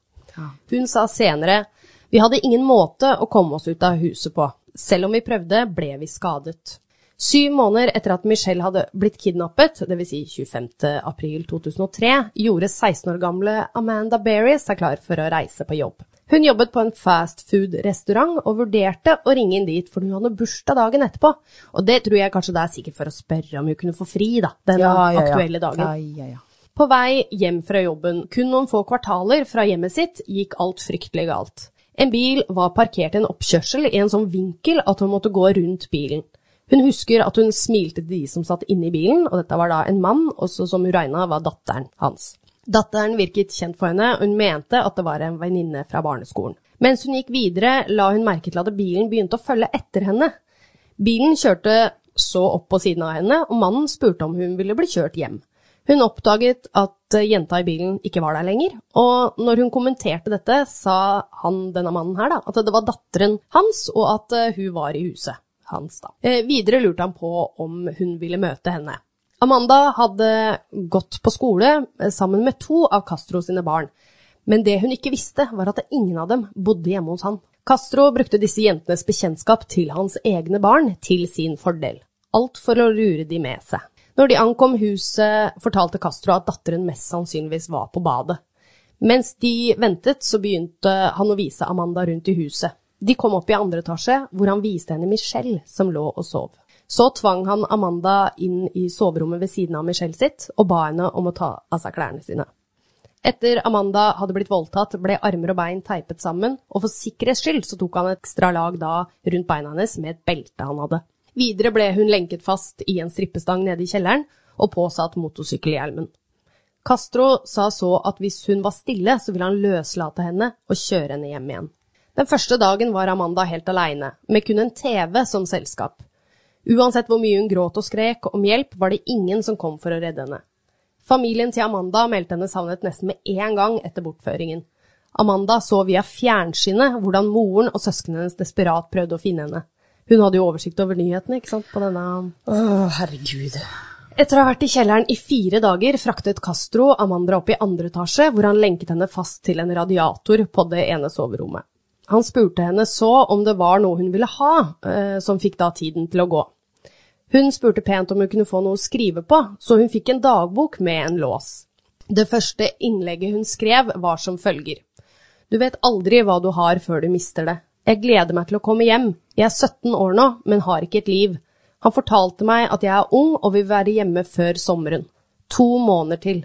Speaker 1: Hun sa senere vi hadde ingen måte å komme oss ut av huset på. Selv om vi prøvde, ble vi skadet. Syv måneder etter at Michelle hadde blitt kidnappet, dvs. Si 25. april 2003, gjorde 16 år gamle Amanda Berry seg klar for å reise på jobb. Hun jobbet på en fast food-restaurant og vurderte å ringe inn dit, for hun hadde bursdag dagen etterpå. Og det tror jeg kanskje det er sikkert for å spørre om hun kunne få fri da, den aktuelle dagen.
Speaker 2: Ja, ja, ja.
Speaker 1: På vei hjem fra jobben, kun noen få kvartaler fra hjemmet sitt, gikk alt fryktelig galt. En bil var parkert i en oppkjørsel i en sånn vinkel at hun måtte gå rundt bilen. Hun husker at hun smilte til de som satt inne i bilen, og dette var da en mann, også som hun regna var datteren hans. Datteren virket kjent for henne, og hun mente at det var en venninne fra barneskolen. Mens hun gikk videre, la hun merke til at bilen begynte å følge etter henne. Bilen kjørte så opp på siden av henne, og mannen spurte om hun ville bli kjørt hjem. Hun oppdaget at eh, jenta i bilen ikke var der lenger, og når hun kommenterte dette, sa han, denne mannen her, da, at det var datteren hans, og at eh, hun var i huset hans. Da. Eh, videre lurte han på om hun ville møte henne. Amanda hadde gått på skole eh, sammen med to av Castro sine barn, men det hun ikke visste, var at ingen av dem bodde hjemme hos han. Castro brukte disse jentenes bekjentskap til hans egne barn til sin fordel. Alt for å lure de med seg. Når de ankom huset, fortalte Castro at datteren mest sannsynligvis var på badet. Mens de ventet, så begynte han å vise Amanda rundt i huset. De kom opp i andre etasje, hvor han viste henne Michelle, som lå og sov. Så tvang han Amanda inn i soverommet ved siden av Michelle sitt, og ba henne om å ta av seg klærne sine. Etter Amanda hadde blitt voldtatt, ble armer og bein teipet sammen, og for sikkerhets skyld så tok han et ekstra lag da rundt beina hennes med et belte han hadde. Videre ble hun lenket fast i en strippestang nede i kjelleren og påsatt motorsykkelhjelmen. Castro sa så at hvis hun var stille, så ville han løslate henne og kjøre henne hjem igjen. Den første dagen var Amanda helt aleine, med kun en TV som selskap. Uansett hvor mye hun gråt og skrek om hjelp, var det ingen som kom for å redde henne. Familien til Amanda meldte henne savnet nesten med én gang etter bortføringen. Amanda så via fjernsynet hvordan moren og søsknene hennes desperat prøvde å finne henne. Hun hadde jo oversikt over nyhetene, ikke sant, på denne
Speaker 2: Å, herregud.
Speaker 1: etter å ha vært i kjelleren i fire dager fraktet Castro Amanda opp i andre etasje, hvor han lenket henne fast til en radiator på det ene soverommet. Han spurte henne så om det var noe hun ville ha, eh, som fikk da tiden til å gå. Hun spurte pent om hun kunne få noe å skrive på, så hun fikk en dagbok med en lås. Det første innlegget hun skrev var som følger. Du vet aldri hva du har før du mister det. Jeg gleder meg til å komme hjem. Jeg er 17 år nå, men har ikke et liv. Han fortalte meg at jeg er ung og vil være hjemme før sommeren. To måneder til.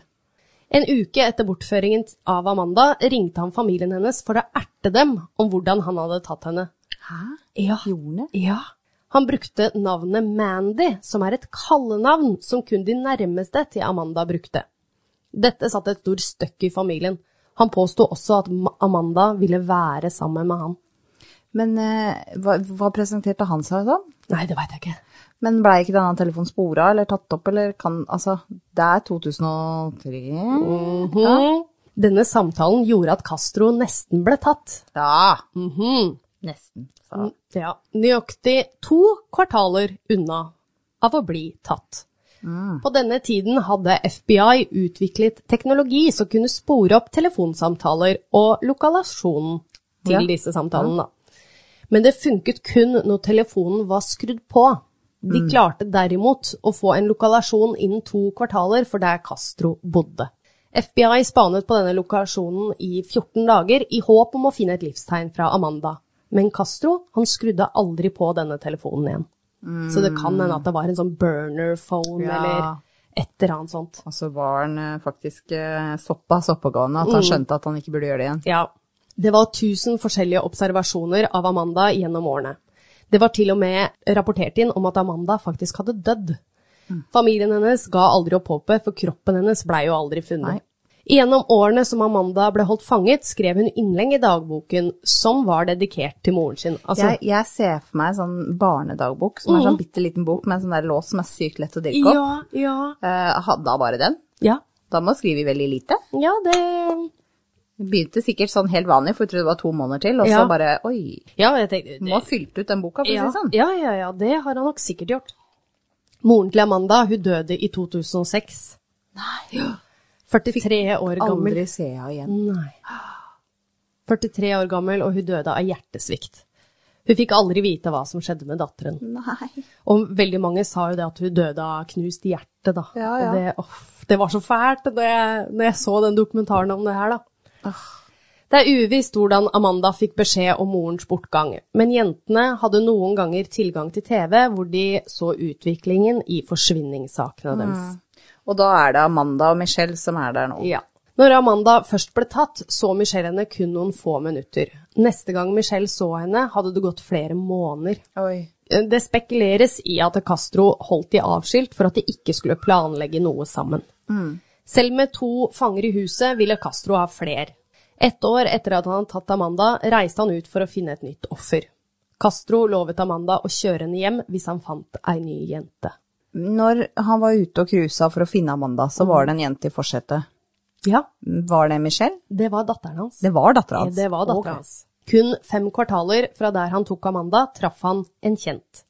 Speaker 1: En uke etter bortføringen av Amanda ringte han familien hennes for å erte dem om hvordan han hadde tatt henne.
Speaker 2: Hæ?
Speaker 1: Ja,
Speaker 2: Gjorde han det?
Speaker 1: ja. Han brukte navnet Mandy, som er et kallenavn som kun de nærmeste til Amanda brukte. Dette satte et stort støkk i familien. Han påsto også at Ma- Amanda ville være sammen med han.
Speaker 2: Men eh, hva, hva presenterte han seg som?
Speaker 1: Nei, det veit jeg ikke.
Speaker 2: Men blei ikke denne telefonen spora eller tatt opp, eller kan Altså, det er 2003
Speaker 1: Mhm. Denne samtalen gjorde at Castro nesten ble tatt.
Speaker 2: Ja,
Speaker 1: Mhm.
Speaker 2: nesten. Så.
Speaker 1: Ja, nøyaktig to kvartaler unna av å bli tatt. På denne tiden hadde FBI utviklet teknologi som kunne spore opp telefonsamtaler og lokalasjonen til
Speaker 2: Ja.
Speaker 1: disse samtalene. Da. Men det funket kun når telefonen var skrudd på. De klarte derimot å få en lokalasjon innen to kvartaler for der Castro bodde. FBI spanet på denne lokasjonen i 14 dager i håp om å finne et livstegn fra Amanda. Men Castro han skrudde aldri på denne telefonen igjen. Så det kan hende at det var en sånn burner phone
Speaker 2: Ja.
Speaker 1: eller et eller annet sånt.
Speaker 2: Og så var han eh, faktisk eh, såpass oppegående at han skjønte at han ikke burde gjøre det igjen.
Speaker 1: Ja. Det var tusen forskjellige observasjoner av Amanda gjennom årene. Det var til og med rapportert inn om at Amanda faktisk hadde dødd.
Speaker 2: Mm.
Speaker 1: Familien hennes ga aldri opp håpet, for kroppen hennes blei jo aldri funnet.
Speaker 2: Nei.
Speaker 1: Gjennom årene som Amanda ble holdt fanget, skrev hun innlegg i dagboken som var dedikert til moren sin. Altså,
Speaker 2: Jeg, jeg ser for meg en sånn barnedagbok, som er sånn bitte liten bok med en sånn der lås som er sykt lett å dirke opp.
Speaker 1: ja, ja.
Speaker 2: Eh, hadde hun bare den?
Speaker 1: Ja,
Speaker 2: Da må hun skrive veldig lite.
Speaker 1: ja, det
Speaker 2: Begynte sikkert sånn helt vanlig, for jeg trodde det var to måneder til, og så
Speaker 1: Ja.
Speaker 2: bare oi.
Speaker 1: Ja, jeg tenkte
Speaker 2: Må ha fylt ut den boka, for å
Speaker 1: ja,
Speaker 2: si det sånn.
Speaker 1: ja, ja, ja, det har han nok sikkert gjort. Moren til Amanda, hun døde i 2006. Nei. 43 år gammel.
Speaker 2: Aldri se henne igjen.
Speaker 1: Nei. 43 år gammel, og hun døde av hjertesvikt. Hun fikk aldri vite hva som skjedde med datteren.
Speaker 2: Nei.
Speaker 1: Og veldig mange sa jo det at hun døde av knust hjerte, da.
Speaker 2: Ja, ja.
Speaker 1: Og det, åh, det var så fælt når jeg, når jeg så den dokumentaren om det her, da.
Speaker 2: Ah.
Speaker 1: Det er uvisst hvordan Amanda fikk beskjed om morens bortgang, men jentene hadde noen ganger tilgang til TV hvor de så utviklingen i forsvinningssakene
Speaker 2: Mm.
Speaker 1: deres.
Speaker 2: Og da er det Amanda og Michelle som er der nå.
Speaker 1: Ja. Når Amanda først ble tatt, så Michelle henne kun noen få minutter. Neste gang Michelle så henne, hadde det gått flere måneder. Eh,
Speaker 2: Oi.
Speaker 1: Det spekuleres i at Castro holdt de avskilt for at de ikke skulle planlegge noe sammen. Selv med to fanger i huset ville Castro ha fler. Ett år etter at han hadde tatt Amanda, reiste han ut for å finne et nytt offer. Castro lovet Amanda å kjøre henne hjem hvis han fant ei ny jente.
Speaker 2: Når han var ute og cruisa for å finne Amanda, så var det en jente i forsetet.
Speaker 1: Ja,
Speaker 2: Var det Michelle?
Speaker 1: det var datteren hans.
Speaker 2: Det var dattera hans.
Speaker 1: Det var datteren
Speaker 2: Ok.
Speaker 1: hans. Kun fem kvartaler fra der han tok Amanda, traff han en kjent.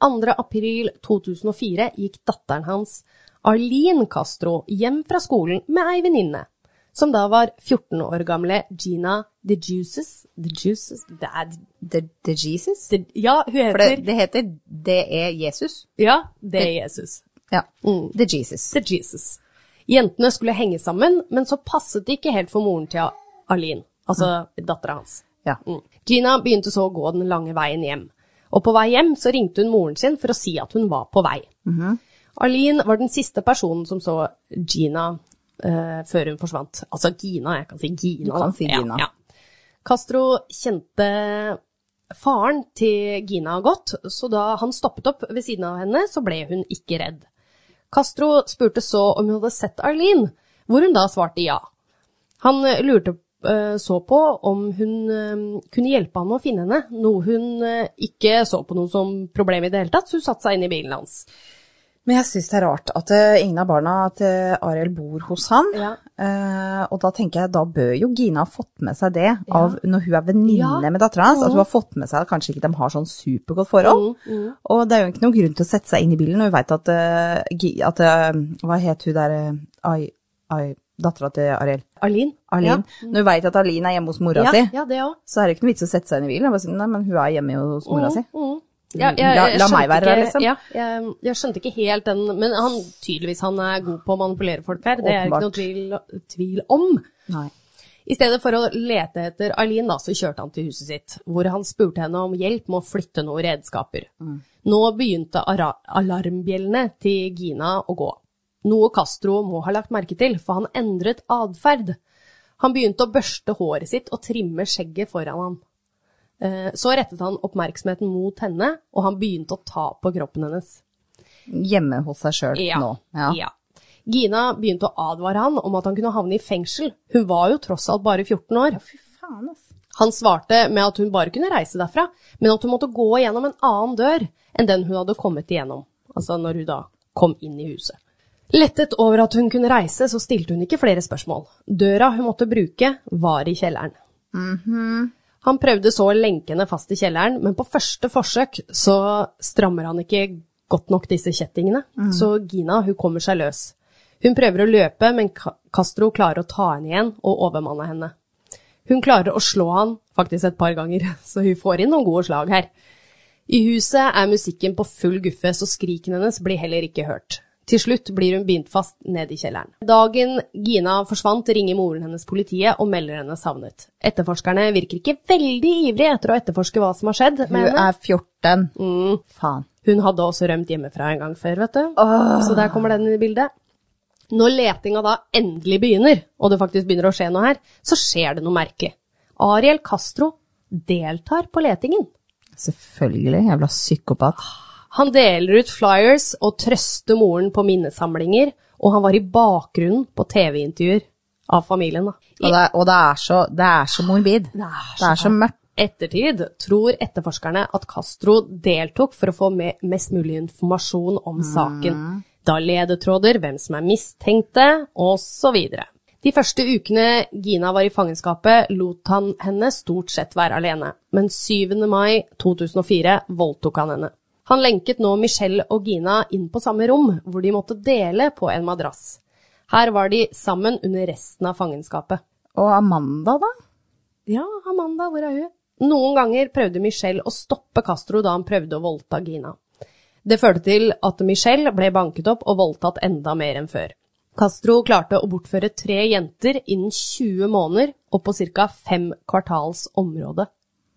Speaker 1: 2. april 2004 gikk datteren hans, Arlene Castro, hjem fra skolen med ei venninne, som da var 14 år gamle Gina The Juices The Juices det er,
Speaker 2: The, the Jesus?
Speaker 1: det, Ja, hun
Speaker 2: For
Speaker 1: heter
Speaker 2: det, det heter Det er Jesus.
Speaker 1: Ja, det er Jesus.
Speaker 2: Ja.
Speaker 1: Mm.
Speaker 2: The Jesus.
Speaker 1: til Jesus. Jentene skulle henge sammen, men så passet det ikke helt for moren til Arlene, altså dattera hans.
Speaker 2: Ja.
Speaker 1: Mm. Gina begynte så å gå den lange veien hjem. Og på vei hjem så ringte hun moren sin for å si at hun var på vei. Arlene var den siste personen som så Gina eh, før hun forsvant. Altså Gina, jeg kan si Gina.
Speaker 2: Du kan
Speaker 1: da.
Speaker 2: si Gina.
Speaker 1: Ja, ja. Castro kjente faren til Gina godt, så da han stoppet opp ved siden av henne, så ble hun ikke redd. Castro spurte så om hun hadde sett Arlene, hvor hun da svarte ja. Han eh, lurte eh, så på om hun eh, kunne hjelpe ham å finne henne, noe hun eh, ikke så på noe som problem i det hele tatt, så hun satte seg inn i bilen hans.
Speaker 2: Men jeg syns det er rart at eh, ingen av barna til Ariel bor hos han.
Speaker 1: Ja.
Speaker 2: Eh, og da tenker jeg da bør jo Gina ha fått med seg det av, når hun er venninne
Speaker 1: Ja. Mm.
Speaker 2: med dattera hans. At hun har fått med seg at kanskje ikke de har sånn supergodt forhold. Og det er jo ikke noen grunn til å sette seg inn i bilen når hun veit at, eh, Gi- at eh, Hva het hun der eh, Ai, ai, Dattera til Ariel.
Speaker 1: Arlene?
Speaker 2: Arlene. Når hun veit at Arlene er hjemme hos mora
Speaker 1: Ja,
Speaker 2: si,
Speaker 1: ja, ja det òg.
Speaker 2: så er det ikke noe vits å sette seg inn i bilen. Jeg bare sier, nei, men hun er hjemme hos mora si.
Speaker 1: Mm.
Speaker 2: La- la meg
Speaker 1: skjønte
Speaker 2: være
Speaker 1: ikke,
Speaker 2: der, liksom.
Speaker 1: Ja, jeg, jeg skjønte ikke helt den, men han, tydeligvis han er god på å manipulere folk her, det er ikke noe tvil, tvil om.
Speaker 2: Nei.
Speaker 1: I stedet for å lete etter Arlene, da, så kjørte han til huset sitt, hvor han spurte henne om hjelp med å flytte noen redskaper. Nå begynte ara alarmbjellene til Gina å gå. Noe Castro må ha lagt merke til, for han endret atferd. Han begynte å børste håret sitt og trimme skjegget foran ham. Eh, Så rettet han oppmerksomheten mot henne, og han begynte å ta på kroppen hennes.
Speaker 2: Hjemme hos seg sjøl nå.
Speaker 1: Ja. ja. Gina begynte å advare han om at han kunne havne i fengsel. Hun var jo tross alt bare 14 år.
Speaker 2: Fy faen, ass.
Speaker 1: Han svarte med at hun bare kunne reise derfra, men at hun måtte gå gjennom en annen dør enn den hun hadde kommet igjennom, altså når hun da kom inn i huset. Lettet over at hun kunne reise, så stilte hun ikke flere spørsmål. Døra hun måtte bruke, var i kjelleren. Han prøvde så å lenke henne fast i kjelleren, men på første forsøk så strammer han ikke godt nok disse kjettingene, så Gina hun kommer seg løs. Hun prøver å løpe, men Ca- Castro klarer å ta henne igjen og overmanne henne. Hun klarer å slå han faktisk et par ganger, så hun får inn noen gode slag her. I huset er musikken på full guffe, så skriken hennes blir heller ikke hørt. Til slutt blir hun bindt fast ned i kjelleren. Dagen Gina forsvant, ringer moren hennes politiet og melder henne savnet. Etterforskerne virker ikke veldig ivrige etter å etterforske hva som har skjedd med
Speaker 2: Hun
Speaker 1: henne.
Speaker 2: er 14.
Speaker 1: Mm.
Speaker 2: Faen.
Speaker 1: Hun hadde også rømt hjemmefra en gang før, vet du. Så der kommer den inn i bildet. Når letinga da endelig begynner, og det faktisk begynner å skje noe her, så skjer det noe merkelig. Ariel Castro deltar på letingen.
Speaker 2: Selvfølgelig. Jævla psykopat.
Speaker 1: Han deler ut flyers og trøster moren på minnesamlinger, og han var i bakgrunnen på TV-intervjuer av familien. Da.
Speaker 2: Og det, og det, er, så, det er så morbid.
Speaker 1: Det er så
Speaker 2: Det er så mørkt.
Speaker 1: ettertid tror etterforskerne at Castro deltok for å få med mest mulig informasjon om saken.
Speaker 2: Mm.
Speaker 1: Da ledetråder, hvem som er mistenkte, osv. De første ukene Gina var i fangenskapet, lot han henne stort sett være alene, men 7. mai 2004 voldtok han henne. Han lenket nå Michelle og Gina inn på samme rom, hvor de måtte dele på en madrass. Her var de sammen under resten av fangenskapet.
Speaker 2: Og Amanda, da?
Speaker 1: Ja, Amanda, hvor er hun? Noen ganger prøvde Michelle å stoppe Castro da han prøvde å voldta Gina. Det førte til at Michelle ble banket opp og voldtatt enda mer enn før. Castro klarte å bortføre tre jenter innen 20 måneder og på ca. fem kvartals område.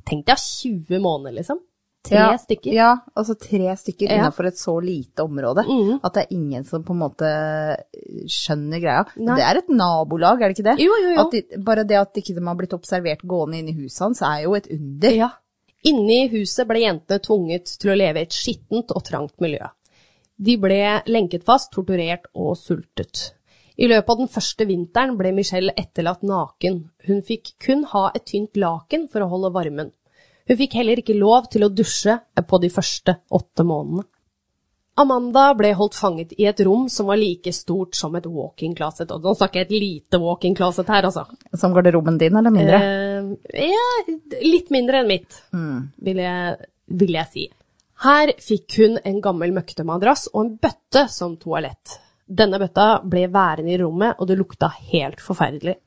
Speaker 1: Tenk deg 20 måneder, liksom. Tre
Speaker 2: ja,
Speaker 1: stykker.
Speaker 2: Ja, altså tre stykker
Speaker 1: Ja. Mm.
Speaker 2: innenfor et så lite område at det er ingen som på en måte eh, skjønner greia.
Speaker 1: Nei.
Speaker 2: Det er et nabolag, er det ikke det?
Speaker 1: Jo, jo, jo.
Speaker 2: At de, bare det at ikke de har blitt observert gående inn i huset hans, er jo et under.
Speaker 1: Ja. Inne i huset ble jentene tvunget til å leve i et skittent og trangt miljø. De ble lenket fast, torturert og sultet. I løpet av den første vinteren ble Michelle etterlatt naken. Hun fikk kun ha et tynt laken for å holde varmen. Hun fikk heller ikke lov til å dusje på de første åtte månedene. Amanda ble holdt fanget i et rom som var like stort som et walk-in closet. Og nå snakker jeg et lite walk-in closet her, altså.
Speaker 2: Som garderoben din, eller mindre?
Speaker 1: Eh, ja, litt mindre enn mitt, vil, jeg, vil jeg si. Her fikk hun en gammel møkkete madrass og en bøtte som toalett. Denne bøtta ble værende i rommet, og det lukta helt forferdelig.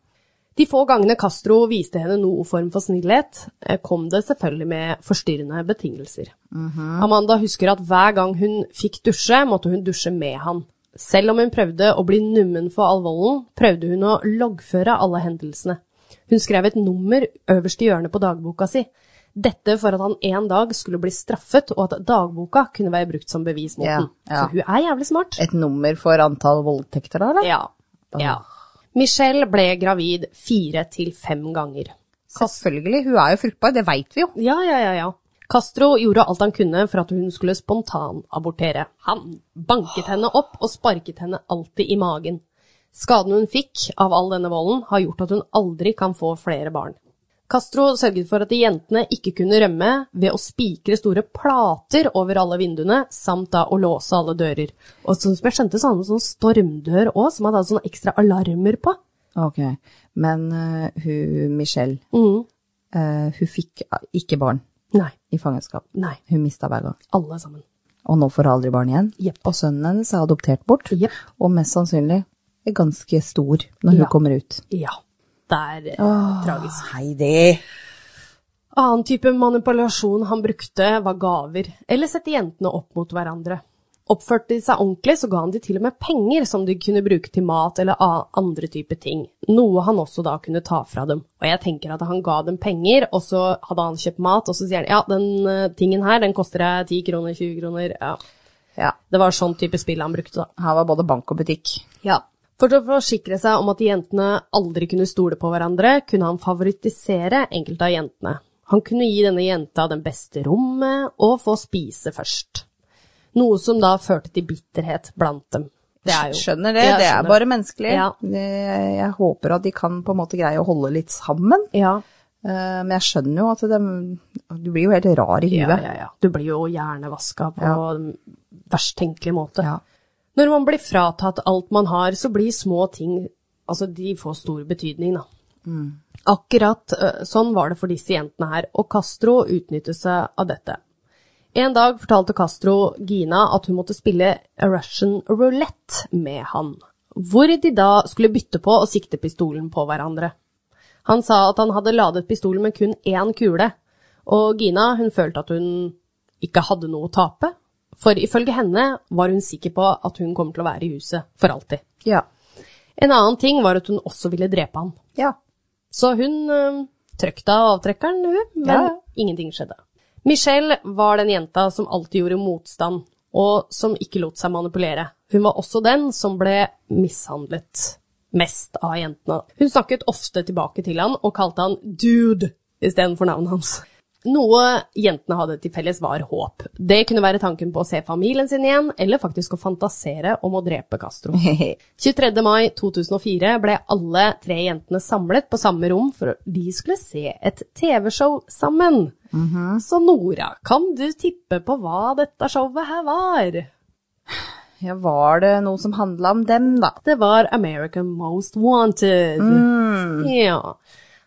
Speaker 1: De få gangene Castro viste henne noe form for snillhet, eh, kom det selvfølgelig med forstyrrende betingelser.
Speaker 2: Mhm.
Speaker 1: Amanda husker at hver gang hun fikk dusje, måtte hun dusje med han. Selv om hun prøvde å bli nummen for all volden, prøvde hun å loggføre alle hendelsene. Hun skrev et nummer øverst i hjørnet på dagboka si. Dette for at han en dag skulle bli straffet, og at dagboka kunne være brukt som bevis mot
Speaker 2: Ja,
Speaker 1: den.
Speaker 2: ja.
Speaker 1: Så hun er jævlig smart.
Speaker 2: Et nummer for antall voldtekter, da? eller?
Speaker 1: Ja. ja. Michelle ble gravid fire til fem ganger.
Speaker 2: Selvfølgelig, hun er jo fruktbar, det veit vi jo.
Speaker 1: Ja, ja, ja, ja. Castro gjorde alt han kunne for at hun skulle spontanabortere. Han banket henne opp og sparket henne alltid i magen. Skaden hun fikk av all denne volden, har gjort at hun aldri kan få flere barn. Castro sørget for at de jentene ikke kunne rømme ved å spikre store plater over alle vinduene, samt da å låse alle dører. Og som jeg skjønte, så hadde han en sånn stormdør òg, som han hadde sånne ekstra alarmer på.
Speaker 2: Ok, Men eh, hun Michelle,
Speaker 1: Mhm.
Speaker 2: eh, hun fikk ikke barn
Speaker 1: Nei.
Speaker 2: i fangenskap.
Speaker 1: Nei.
Speaker 2: Hun mista hver gang.
Speaker 1: Alle sammen.
Speaker 2: Og nå får hun aldri barn igjen.
Speaker 1: Jepp.
Speaker 2: Og sønnen hennes er adoptert bort,
Speaker 1: Jepp.
Speaker 2: og mest sannsynlig er ganske stor når hun
Speaker 1: Ja.
Speaker 2: kommer ut.
Speaker 1: Ja. Det er eh, tragisk.
Speaker 2: Heidi!
Speaker 1: Annen type manipulasjon han brukte var gaver, eller sette jentene opp mot hverandre. Oppførte de seg ordentlig, så ga han de til og med penger som de kunne bruke til mat eller a- andre typer ting, noe han også da kunne ta fra dem. Og jeg tenker at han ga dem penger, og så hadde han kjøpt mat, og så sier han ja, den eh, tingen her, den koster deg 10 kroner, 20 kroner, ja.
Speaker 2: Ja,
Speaker 1: Det var sånn type spill han brukte da.
Speaker 2: her var både bank og butikk.
Speaker 1: Ja. For å forsikre seg om at jentene aldri kunne stole på hverandre, kunne han favorittisere enkelte av jentene. Han kunne gi denne jenta den beste rommet og få spise først. Noe som da førte til bitterhet blant dem. Det er jo,
Speaker 2: Skjønner det,
Speaker 1: Ja,
Speaker 2: det er
Speaker 1: skjønner.
Speaker 2: bare menneskelig.
Speaker 1: Ja.
Speaker 2: Det, jeg håper at de kan på en måte greie å holde litt sammen.
Speaker 1: Ja,
Speaker 2: Eh, men jeg skjønner jo at de, du blir jo helt rar i
Speaker 1: ja,
Speaker 2: huet.
Speaker 1: ja, ja. Du blir jo hjernevaska på
Speaker 2: Ja.
Speaker 1: den verst tenkelige måte.
Speaker 2: Ja.
Speaker 1: Når man blir fratatt alt man har, så blir små ting Altså, de får stor betydning, da. Akkurat eh, sånn var det for disse jentene her, og Castro utnyttet seg av dette. En dag fortalte Castro Gina at hun måtte spille Russian roulette med han, hvor de da skulle bytte på å sikte pistolen på hverandre. Han sa at han hadde ladet pistolen med kun én kule, og Gina hun følte at hun ikke hadde noe å tape, for ifølge henne var hun sikker på at hun kom til å være i huset for alltid.
Speaker 2: Ja.
Speaker 1: En annen ting var at hun også ville drepe han.
Speaker 2: ja.
Speaker 1: Så hun øh, trøkte av avtrekkeren, hun, men
Speaker 2: Ja, ja.
Speaker 1: ingenting skjedde. Michelle var den jenta som alltid gjorde motstand, og som ikke lot seg manipulere. Hun var også den som ble mishandlet mest av jentene. Hun snakket ofte tilbake til han og kalte han dude istedenfor navnet hans. Noe jentene hadde til felles var håp. Det kunne være tanken på å se familien sin igjen, eller faktisk å fantasere om å drepe Castro. 23. mai 2004 ble alle tre jentene samlet på samme rom for å- de skulle se et TV-show sammen. Så Nora, kan du tippe på hva dette showet her var?
Speaker 2: ja, var det noe som handla om dem, da?
Speaker 1: Det var American Most Wanted. Ja.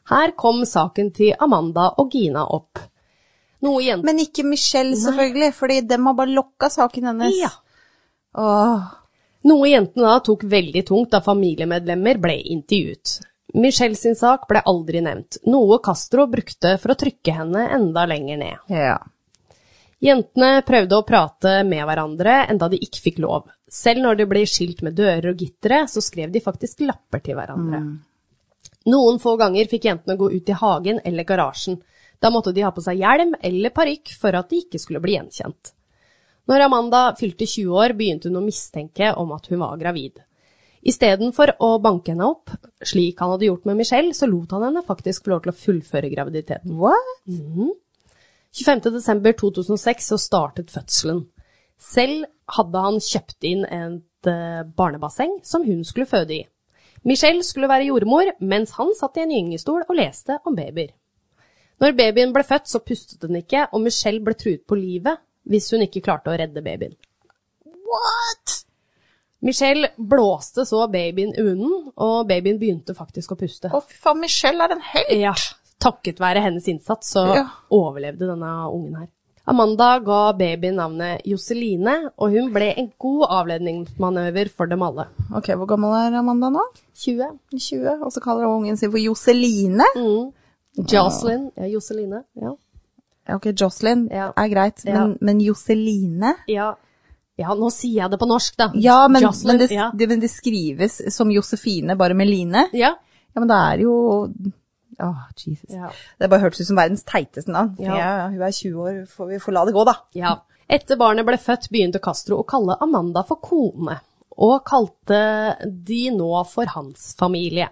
Speaker 1: Her kom saken til Amanda og Gina opp. Noe jentene
Speaker 2: Men ikke Michelle, selvfølgelig, fordi dem har bare lokka saken hennes.
Speaker 1: ja.
Speaker 2: Åh.
Speaker 1: Noe jentene da tok veldig tungt da familiemedlemmer ble intervjuet. Michelle sin sak ble aldri nevnt, noe Castro brukte for å trykke henne enda lenger ned.
Speaker 2: Ja.
Speaker 1: Jentene prøvde å prate med hverandre enda de ikke fikk lov. Selv når de ble skilt med dører og gittere, så skrev de faktisk lapper til hverandre. Noen få ganger fikk jentene gå ut i hagen eller garasjen. Da måtte de ha på seg hjelm eller parykk for at de ikke skulle bli gjenkjent. Når Amanda fylte 20 år, begynte hun å mistenke om at hun var gravid. Istedenfor å banke henne opp, slik han hadde gjort med Michelle, så lot han henne faktisk få lov til å fullføre graviditeten.
Speaker 2: What?
Speaker 1: 25.12.2006 så startet fødselen. Selv hadde han kjøpt inn et eh, barnebasseng som hun skulle føde i. Michelle skulle være jordmor, mens han satt i en gyngestol og leste om babyer. Når babyen ble født, så pustet den ikke, og Michelle ble truet på livet hvis hun ikke klarte å redde babyen.
Speaker 2: What?
Speaker 1: Michelle blåste så babyen i munnen, og babyen begynte faktisk å puste.
Speaker 2: Å, fy faen, Michelle er en helt.
Speaker 1: Ja, takket være hennes innsats så
Speaker 2: Ja.
Speaker 1: overlevde denne ungen her. Amanda ga babyen navnet Joseline, og hun ble en god avledningsmanøver for dem alle.
Speaker 2: Ok, hvor gammel er Amanda nå?
Speaker 1: 20.
Speaker 2: 20, og så kaller hun ungen sin for Joseline.
Speaker 1: Mm. Jocelyn. Ja, Joseline. Ja.
Speaker 2: Ja, Ok, Jocelyn
Speaker 1: Ja.
Speaker 2: er greit,
Speaker 1: Ja.
Speaker 2: men, men Joseline?
Speaker 1: ja. Ja, nå sier jeg det på norsk, da.
Speaker 2: Ja, men,
Speaker 1: Jocelyn,
Speaker 2: men, det,
Speaker 1: ja.
Speaker 2: det, men det skrives som Josefine, bare med line.
Speaker 1: ja.
Speaker 2: Ja, men det er jo... Åh, Jesus.
Speaker 1: Ja.
Speaker 2: Det bare hørtes ut som verdens teiteste navn.
Speaker 1: Ja.
Speaker 2: Ja. hun er 20 år, får vi får la det gå da.
Speaker 1: Ja. Etter barnet ble født, begynte Castro å kalle Amanda for kone, og kalte de nå for hans familie.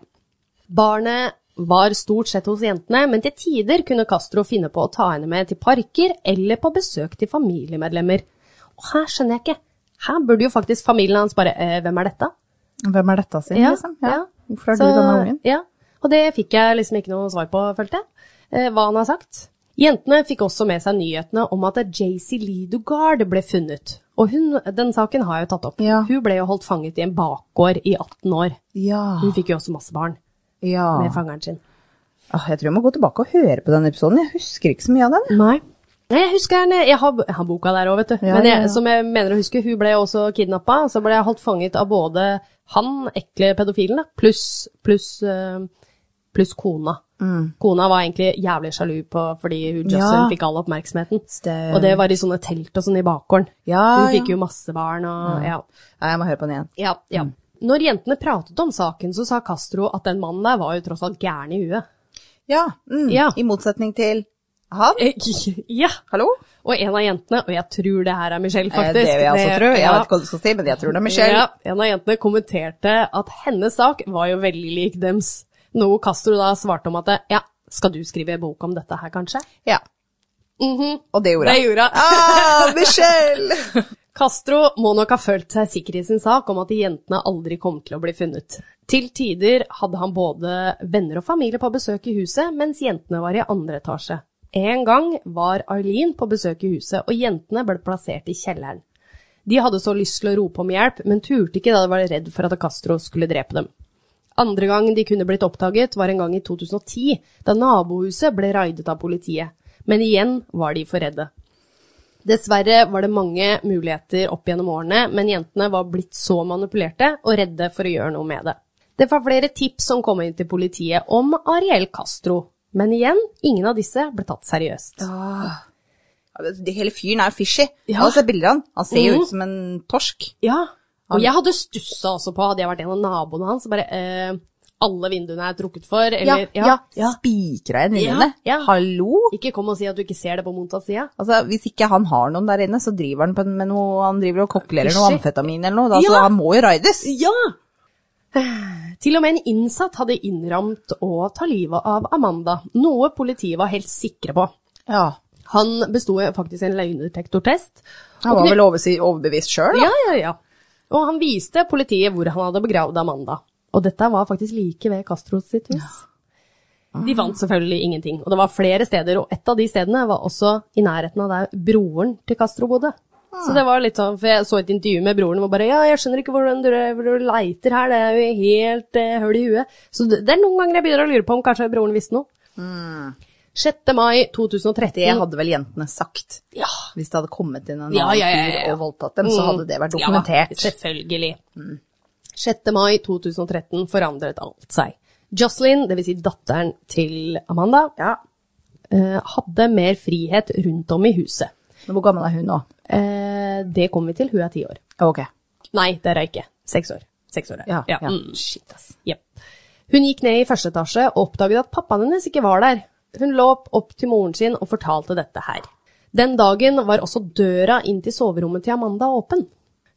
Speaker 1: Barnet var stort sett hos jentene, men til tider kunne Castro finne på å ta henne med til parker eller på besøk til familiemedlemmer. Og her skjønner jeg ikke. Her burde jo faktisk familien hans bare eh, Hvem er dette?
Speaker 2: Hvem er dette sin, liksom? Ja.
Speaker 1: ja.
Speaker 2: Hvorfor er
Speaker 1: Så-
Speaker 2: du denne ungen?
Speaker 1: Ja, og det fikk jeg liksom ikke noe svar på, følte jeg, eh, hva han har sagt. Jentene fikk også med seg nyhetene om at JC Lee Dugard ble funnet. Og hun, den saken har jeg jo tatt opp.
Speaker 2: Ja.
Speaker 1: Hun ble jo holdt fanget i en bakgård i 18 år.
Speaker 2: Ja,
Speaker 1: Hun fikk jo også masse barn
Speaker 2: ja.
Speaker 1: med fangeren sin.
Speaker 2: Åh, jeg tror jeg må gå tilbake og høre på den episoden. Jeg husker ikke så mye av den.
Speaker 1: Nei. Nei, jeg husker henne, jeg har, jeg har boka der òg, vet du.
Speaker 2: Ja,
Speaker 1: Men jeg,
Speaker 2: ja, ja.
Speaker 1: som jeg mener å huske, hun ble også kidnappa. Så ble jeg holdt fanget av både han, ekle pedofilen, da, pluss plus, plus kona. Kona var egentlig jævlig sjalu på fordi hun Justin
Speaker 2: Mm. Ja.
Speaker 1: fikk all oppmerksomheten.
Speaker 2: Stem.
Speaker 1: Og det var i sånne telt og sånn i bakgården.
Speaker 2: Ja,
Speaker 1: hun
Speaker 2: ja.
Speaker 1: fikk jo masse barn og ja.
Speaker 2: Nei, jeg må høre på den igjen.
Speaker 1: Ja, ja.
Speaker 2: Mm.
Speaker 1: Når jentene pratet om saken, så sa Castro at den mannen der var jo tross alt gæren i huet.
Speaker 2: Ja, mm,
Speaker 1: Ja.
Speaker 2: i motsetning til han.
Speaker 1: Eh, Ja,
Speaker 2: Hallo?
Speaker 1: Og en av jentene, og jeg tror det her er Michelle,
Speaker 2: Eh,
Speaker 1: faktisk
Speaker 2: Det vil jeg også
Speaker 1: det-
Speaker 2: tro. Jeg
Speaker 1: ja.
Speaker 2: vet ikke hva du skal si, men jeg tror det er Michelle.
Speaker 1: Ja, en av jentene kommenterte at hennes sak var jo veldig lik dems. Noe Castro da svarte om at ja, skal du skrive bok om dette her, kanskje?
Speaker 2: Ja.
Speaker 1: Mhm,
Speaker 2: Og det gjorde
Speaker 1: Det
Speaker 2: jeg.
Speaker 1: gjorde hun.
Speaker 2: Ah, Michelle!
Speaker 1: Castro må nok ha følt seg sikker i sin sak om at jentene aldri kom til å bli funnet. Til tider hadde han både venner og familie på besøk i huset, mens jentene var i andre etasje. En gang var Eileen på besøk i huset, og jentene ble plassert i kjelleren. De hadde så lyst til å rope om hjelp, men turte ikke da de var redd for at Castro skulle drepe dem. Andre gang de kunne blitt oppdaget var en gang i 2010, da nabohuset ble raidet av politiet. Men igjen var de for redde. Dessverre var det mange muligheter opp gjennom årene, men jentene var blitt så manipulerte og redde for å gjøre noe med det. Det var flere tips som kom inn til politiet om Ariel Castro, men igjen, ingen av disse ble tatt seriøst.
Speaker 2: Ah. Det hele fyren er fishy.
Speaker 1: Ja.
Speaker 2: Og så er bilder av han. Han ser jo
Speaker 1: Mhm.
Speaker 2: ut som en torsk.
Speaker 1: Ja, og jeg hadde stussa også på, hadde jeg vært en av naboene hans, bare eh, alle vinduene er trukket for, eller
Speaker 2: ja. Spikra igjen vinduene.
Speaker 1: Ja, ja.
Speaker 2: Hallo?
Speaker 1: Ikke kom og si at du ikke ser det på motsatt side.
Speaker 2: Altså, hvis ikke han har noen der inne, så driver han på, en- med noe, han driver og kokkelerer noe
Speaker 1: Fishy.
Speaker 2: amfetamin eller noe, da, så
Speaker 1: Ja.
Speaker 2: han må jo raides.
Speaker 1: Ja! Til og med en innsatt hadde innramt å ta livet av Amanda, noe politiet var helt sikre på.
Speaker 2: Ja.
Speaker 1: Han besto faktisk en løgndetektortest.
Speaker 2: Han var vel oversi- overbevist sjøl, da.
Speaker 1: Ja, ja, ja. Og han viste politiet hvor han hadde begravd Amanda. Og dette var faktisk like ved Castro sitt hus. De vant selvfølgelig ingenting, og det var flere steder, og et av de stedene var også i nærheten av der broren til Castro bodde.
Speaker 2: Ah.
Speaker 1: Så det var litt sånn, for jeg så et intervju med broren og bare ja, jeg skjønner ikke hvordan du, hvor du leiter her, det er jo helt eh, høl i huet. Så det, det er noen ganger jeg begynner å lure på om kanskje broren visste noe.
Speaker 2: Mm.
Speaker 1: 6. mai 2030
Speaker 2: Det hadde vel jentene sagt.
Speaker 1: Ja,
Speaker 2: Hvis det hadde kommet inn en annen
Speaker 1: Mm. Ja, ja, ja, ja, ja.
Speaker 2: fyr og voldtatt dem, så
Speaker 1: Mm.
Speaker 2: hadde det vært dokumentert.
Speaker 1: Ja, selvfølgelig. 6. Mm. mai 2013 forandret alt seg. Jocelyn, dvs. Si datteren til Amanda,
Speaker 2: Ja.
Speaker 1: eh, hadde mer frihet rundt om i huset.
Speaker 2: Men hvor gammel er hun nå?
Speaker 1: Eh, Det kommer vi til, hun er ti år.
Speaker 2: Ok.
Speaker 1: Nei, det er hun ikke. Seks år. Seks år er hun.
Speaker 2: Ja. ja.
Speaker 1: Mm.
Speaker 2: Shit, ass.
Speaker 1: Ja. Hun gikk ned i første etasje og oppdaget at pappaen hennes ikke var der. Hun lå opp- opp til moren sin og fortalte dette her. Den dagen var også døra inn til soverommet til Amanda åpen.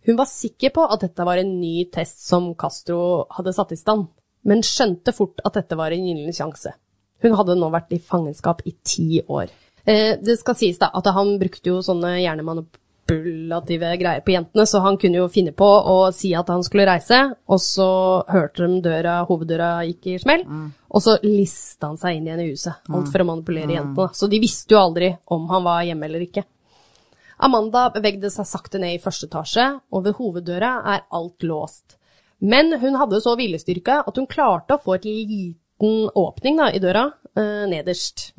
Speaker 1: Hun var sikker på at dette var en ny test som Castro hadde satt i stand, men skjønte fort at dette var en gyllen sjanse. Hun hadde nå vært i fangenskap i ti år. Eh, det skal sies da at han brukte jo sånne hjernemanip manipulative greier på jentene, så han kunne jo finne på å si at han skulle reise, og så hørte de døra, hoveddøra gikk i smell, og så lista han seg inn igjen i huset. Alt for å manipulere jentene. Så de visste jo aldri om han var hjemme eller ikke. Amanda bevegde seg sakte ned i første etasje, og ved hoveddøra er alt låst. Men hun hadde så viljestyrke at hun klarte å få et liten åpning da, i døra eh, nederst.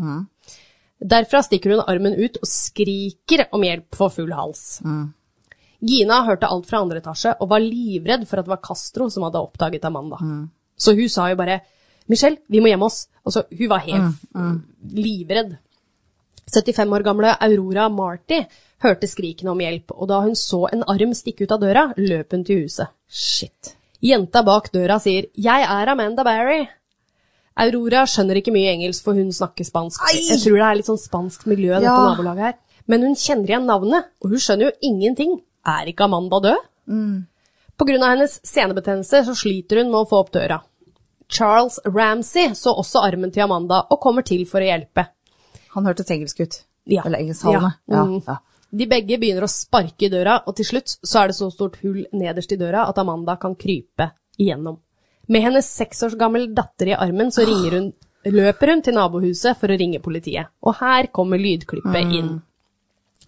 Speaker 1: Derfra stikker hun armen ut og skriker om hjelp for full hals. Gina hørte alt fra andre etasje og var livredd for at det var Castro som hadde oppdaget Amanda. Så hun sa jo bare 'Michelle, vi må gjemme oss'. Altså, hun var helt livredd. 75 år gamle Aurora Marty hørte skrikene om hjelp, og da hun så en arm stikke ut av døra, løp hun til huset. Shit. Jenta bak døra sier 'Jeg er Amanda Barry'. Aurora skjønner ikke mye engelsk, for hun snakker spansk. Jeg tror det er litt sånn spanskt miljø i dette
Speaker 2: Ja.
Speaker 1: nabolaget her. Men hun kjenner igjen navnet, og hun skjønner jo ingenting. Er ikke Amanda død? På grunn av hennes senebetennelse så sliter hun med å få opp døra. Charles Ramsey så også armen til Amanda og kommer til for å hjelpe.
Speaker 2: Han hørtes engelsk ut.
Speaker 1: Ja.
Speaker 2: Eller engelsktalende.
Speaker 1: Ja.
Speaker 2: Ja.
Speaker 1: Mm.
Speaker 2: Ja.
Speaker 1: De begge begynner å sparke i døra, og til slutt så er det så stort hull nederst i døra at Amanda kan krype igjennom. Med hennes seks års gammel datter i armen så ringer hun, løper hun til nabohuset for å ringe politiet. Og her kommer lydklippet inn.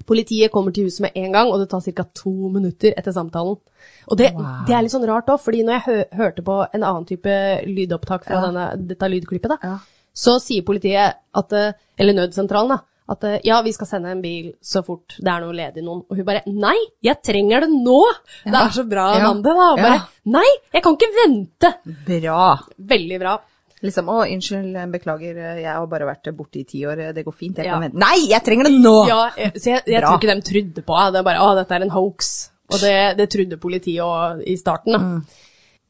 Speaker 1: Politiet kommer til huset med en gang, og det tar ca. to minutter etter samtalen. Og det, det er litt sånn rart òg, fordi når jeg hø hørte på en annen type lydopptak fra denne, dette lydklippet, da,
Speaker 2: Ja.
Speaker 1: så sier politiet, at, eh, eller nødsentralen, da, at eh, ja, vi skal sende en bil så fort det er noe ledig noen. Og hun bare nei, jeg trenger det nå! Det er så bra,
Speaker 2: Ja.
Speaker 1: Amanda. da. Og
Speaker 2: Ja.
Speaker 1: bare nei, jeg kan ikke vente!
Speaker 2: Bra.
Speaker 1: Veldig bra.
Speaker 2: Liksom, å, unnskyld, beklager, jeg har bare vært borte i ti år, det går fint, jeg
Speaker 1: Ja.
Speaker 2: kan vente. Nei, jeg trenger det nå!
Speaker 1: Ja, jeg, så jeg, jeg
Speaker 2: Bra.
Speaker 1: tror ikke de trodde på det. Det er bare, å, dette er en hoax. Og det, det trodde politiet også i starten. Da.
Speaker 2: Mm.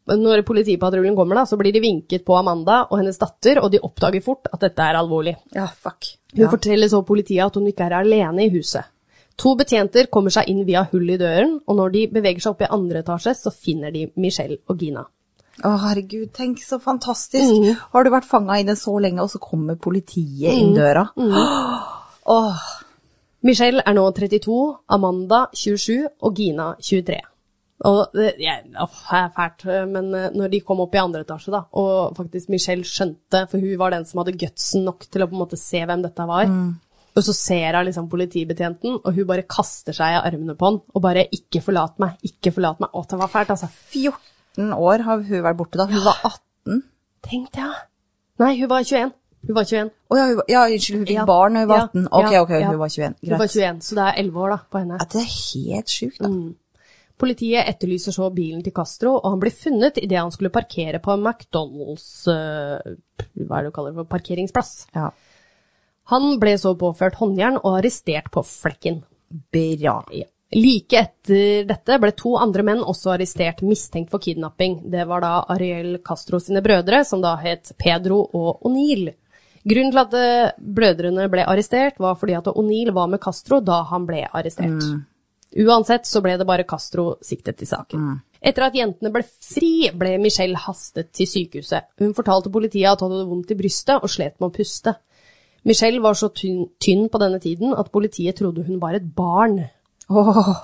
Speaker 1: Men Når politipatruljen kommer, da, så blir de vinket på Amanda og hennes datter, og de oppdager fort at dette er alvorlig.
Speaker 2: Ja, fuck.
Speaker 1: Hun
Speaker 2: Ja.
Speaker 1: forteller så politiet at hun ikke er alene i huset. To betjenter kommer seg inn via hull i døren, og når de beveger seg opp i andre etasje, så finner de Michelle og Gina.
Speaker 2: Å, herregud, tenk så fantastisk.
Speaker 1: Mm.
Speaker 2: Har du vært fanga inne så lenge, og så kommer politiet
Speaker 1: Mm.
Speaker 2: inn døra. Åh,
Speaker 1: Michelle er nå 32, Amanda 27 og Gina 23. Og det ja, åh, det er fælt, men eh, når de kom opp i andre etasje, da, og faktisk Michelle skjønte, for hun var den som hadde gutsen nok til å på en måte se hvem dette var,
Speaker 2: Mm.
Speaker 1: og så ser hun liksom politibetjenten, og hun bare kaster seg i armene på han, og bare 'ikke forlat meg', 'ikke forlat meg'. Å, det var fælt, altså.
Speaker 2: 14 år har hun vært borte da. Hun var 18.
Speaker 1: Tenk det, ja. Nei, hun var 21. Hun var 21.
Speaker 2: Å ja, hun var- ja, unnskyld, hun
Speaker 1: Ja.
Speaker 2: fikk barn da hun var
Speaker 1: Ja.
Speaker 2: 18. Ok,
Speaker 1: Ja.
Speaker 2: ok,
Speaker 1: Ja.
Speaker 2: hun var 21.
Speaker 1: Hun var
Speaker 2: Greit.
Speaker 1: 21, så det er 11 år da, på henne.
Speaker 2: Ja, det er helt sjukt, da.
Speaker 1: Mm. Politiet etterlyser så bilen til Castro, og han blir funnet idet han skulle parkere på McDonald's eh, Hva er det du kaller det for? Parkeringsplass.
Speaker 2: Ja.
Speaker 1: Han ble så påført håndjern og arrestert på flekken.
Speaker 2: Bra.
Speaker 1: Ja. Like etter dette ble to andre menn også arrestert mistenkt for kidnapping. Det var da Ariel Castro sine brødre, som da het Pedro og O'Neill. Grunnen til at eh, brødrene ble arrestert, var fordi at O'Neill var med Castro da han ble arrestert. Uansett så ble det bare Castro siktet i saken. Etter at jentene ble fri, ble Michelle hastet til sykehuset. Hun fortalte politiet at hun hadde vondt i brystet og slet med å puste. Michelle var så tynn, tynn på denne tiden at politiet trodde hun var et barn.
Speaker 2: Åh,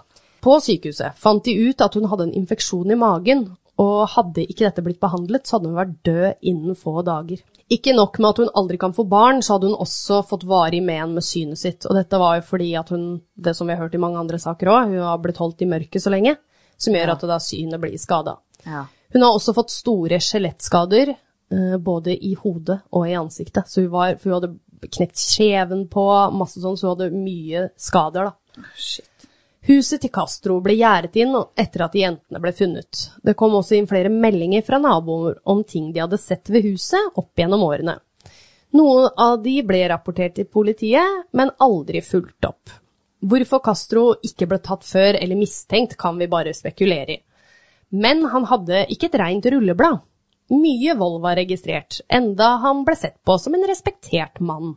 Speaker 1: På sykehuset fant de ut at hun hadde en infeksjon i magen, og hadde ikke dette blitt behandlet, så hadde hun vært død innen få dager. Ikke nok med at hun aldri kan få barn, så hadde hun også fått varig men med synet sitt. Og dette var jo fordi at hun, det som vi har hørt i mange andre saker òg, hun har blitt holdt i mørket så lenge, som gjør at da synet blir skada.
Speaker 2: Ja.
Speaker 1: Hun har også fått store skjelettskader, eh, både i hodet og i ansiktet. Så hun, var, for hun hadde knekt kjeven på, masse sånn, så hun hadde mye skader, da. Huset til Castro ble gjerdet inn etter at de jentene ble funnet. Det kom også inn flere meldinger fra naboer om ting de hadde sett ved huset opp gjennom årene. Noen av de ble rapportert til politiet, men aldri fulgt opp. Hvorfor Castro ikke ble tatt før eller mistenkt, kan vi bare spekulere i. Men han hadde ikke et rent rulleblad. Mye vold var registrert, enda han ble sett på som en respektert mann.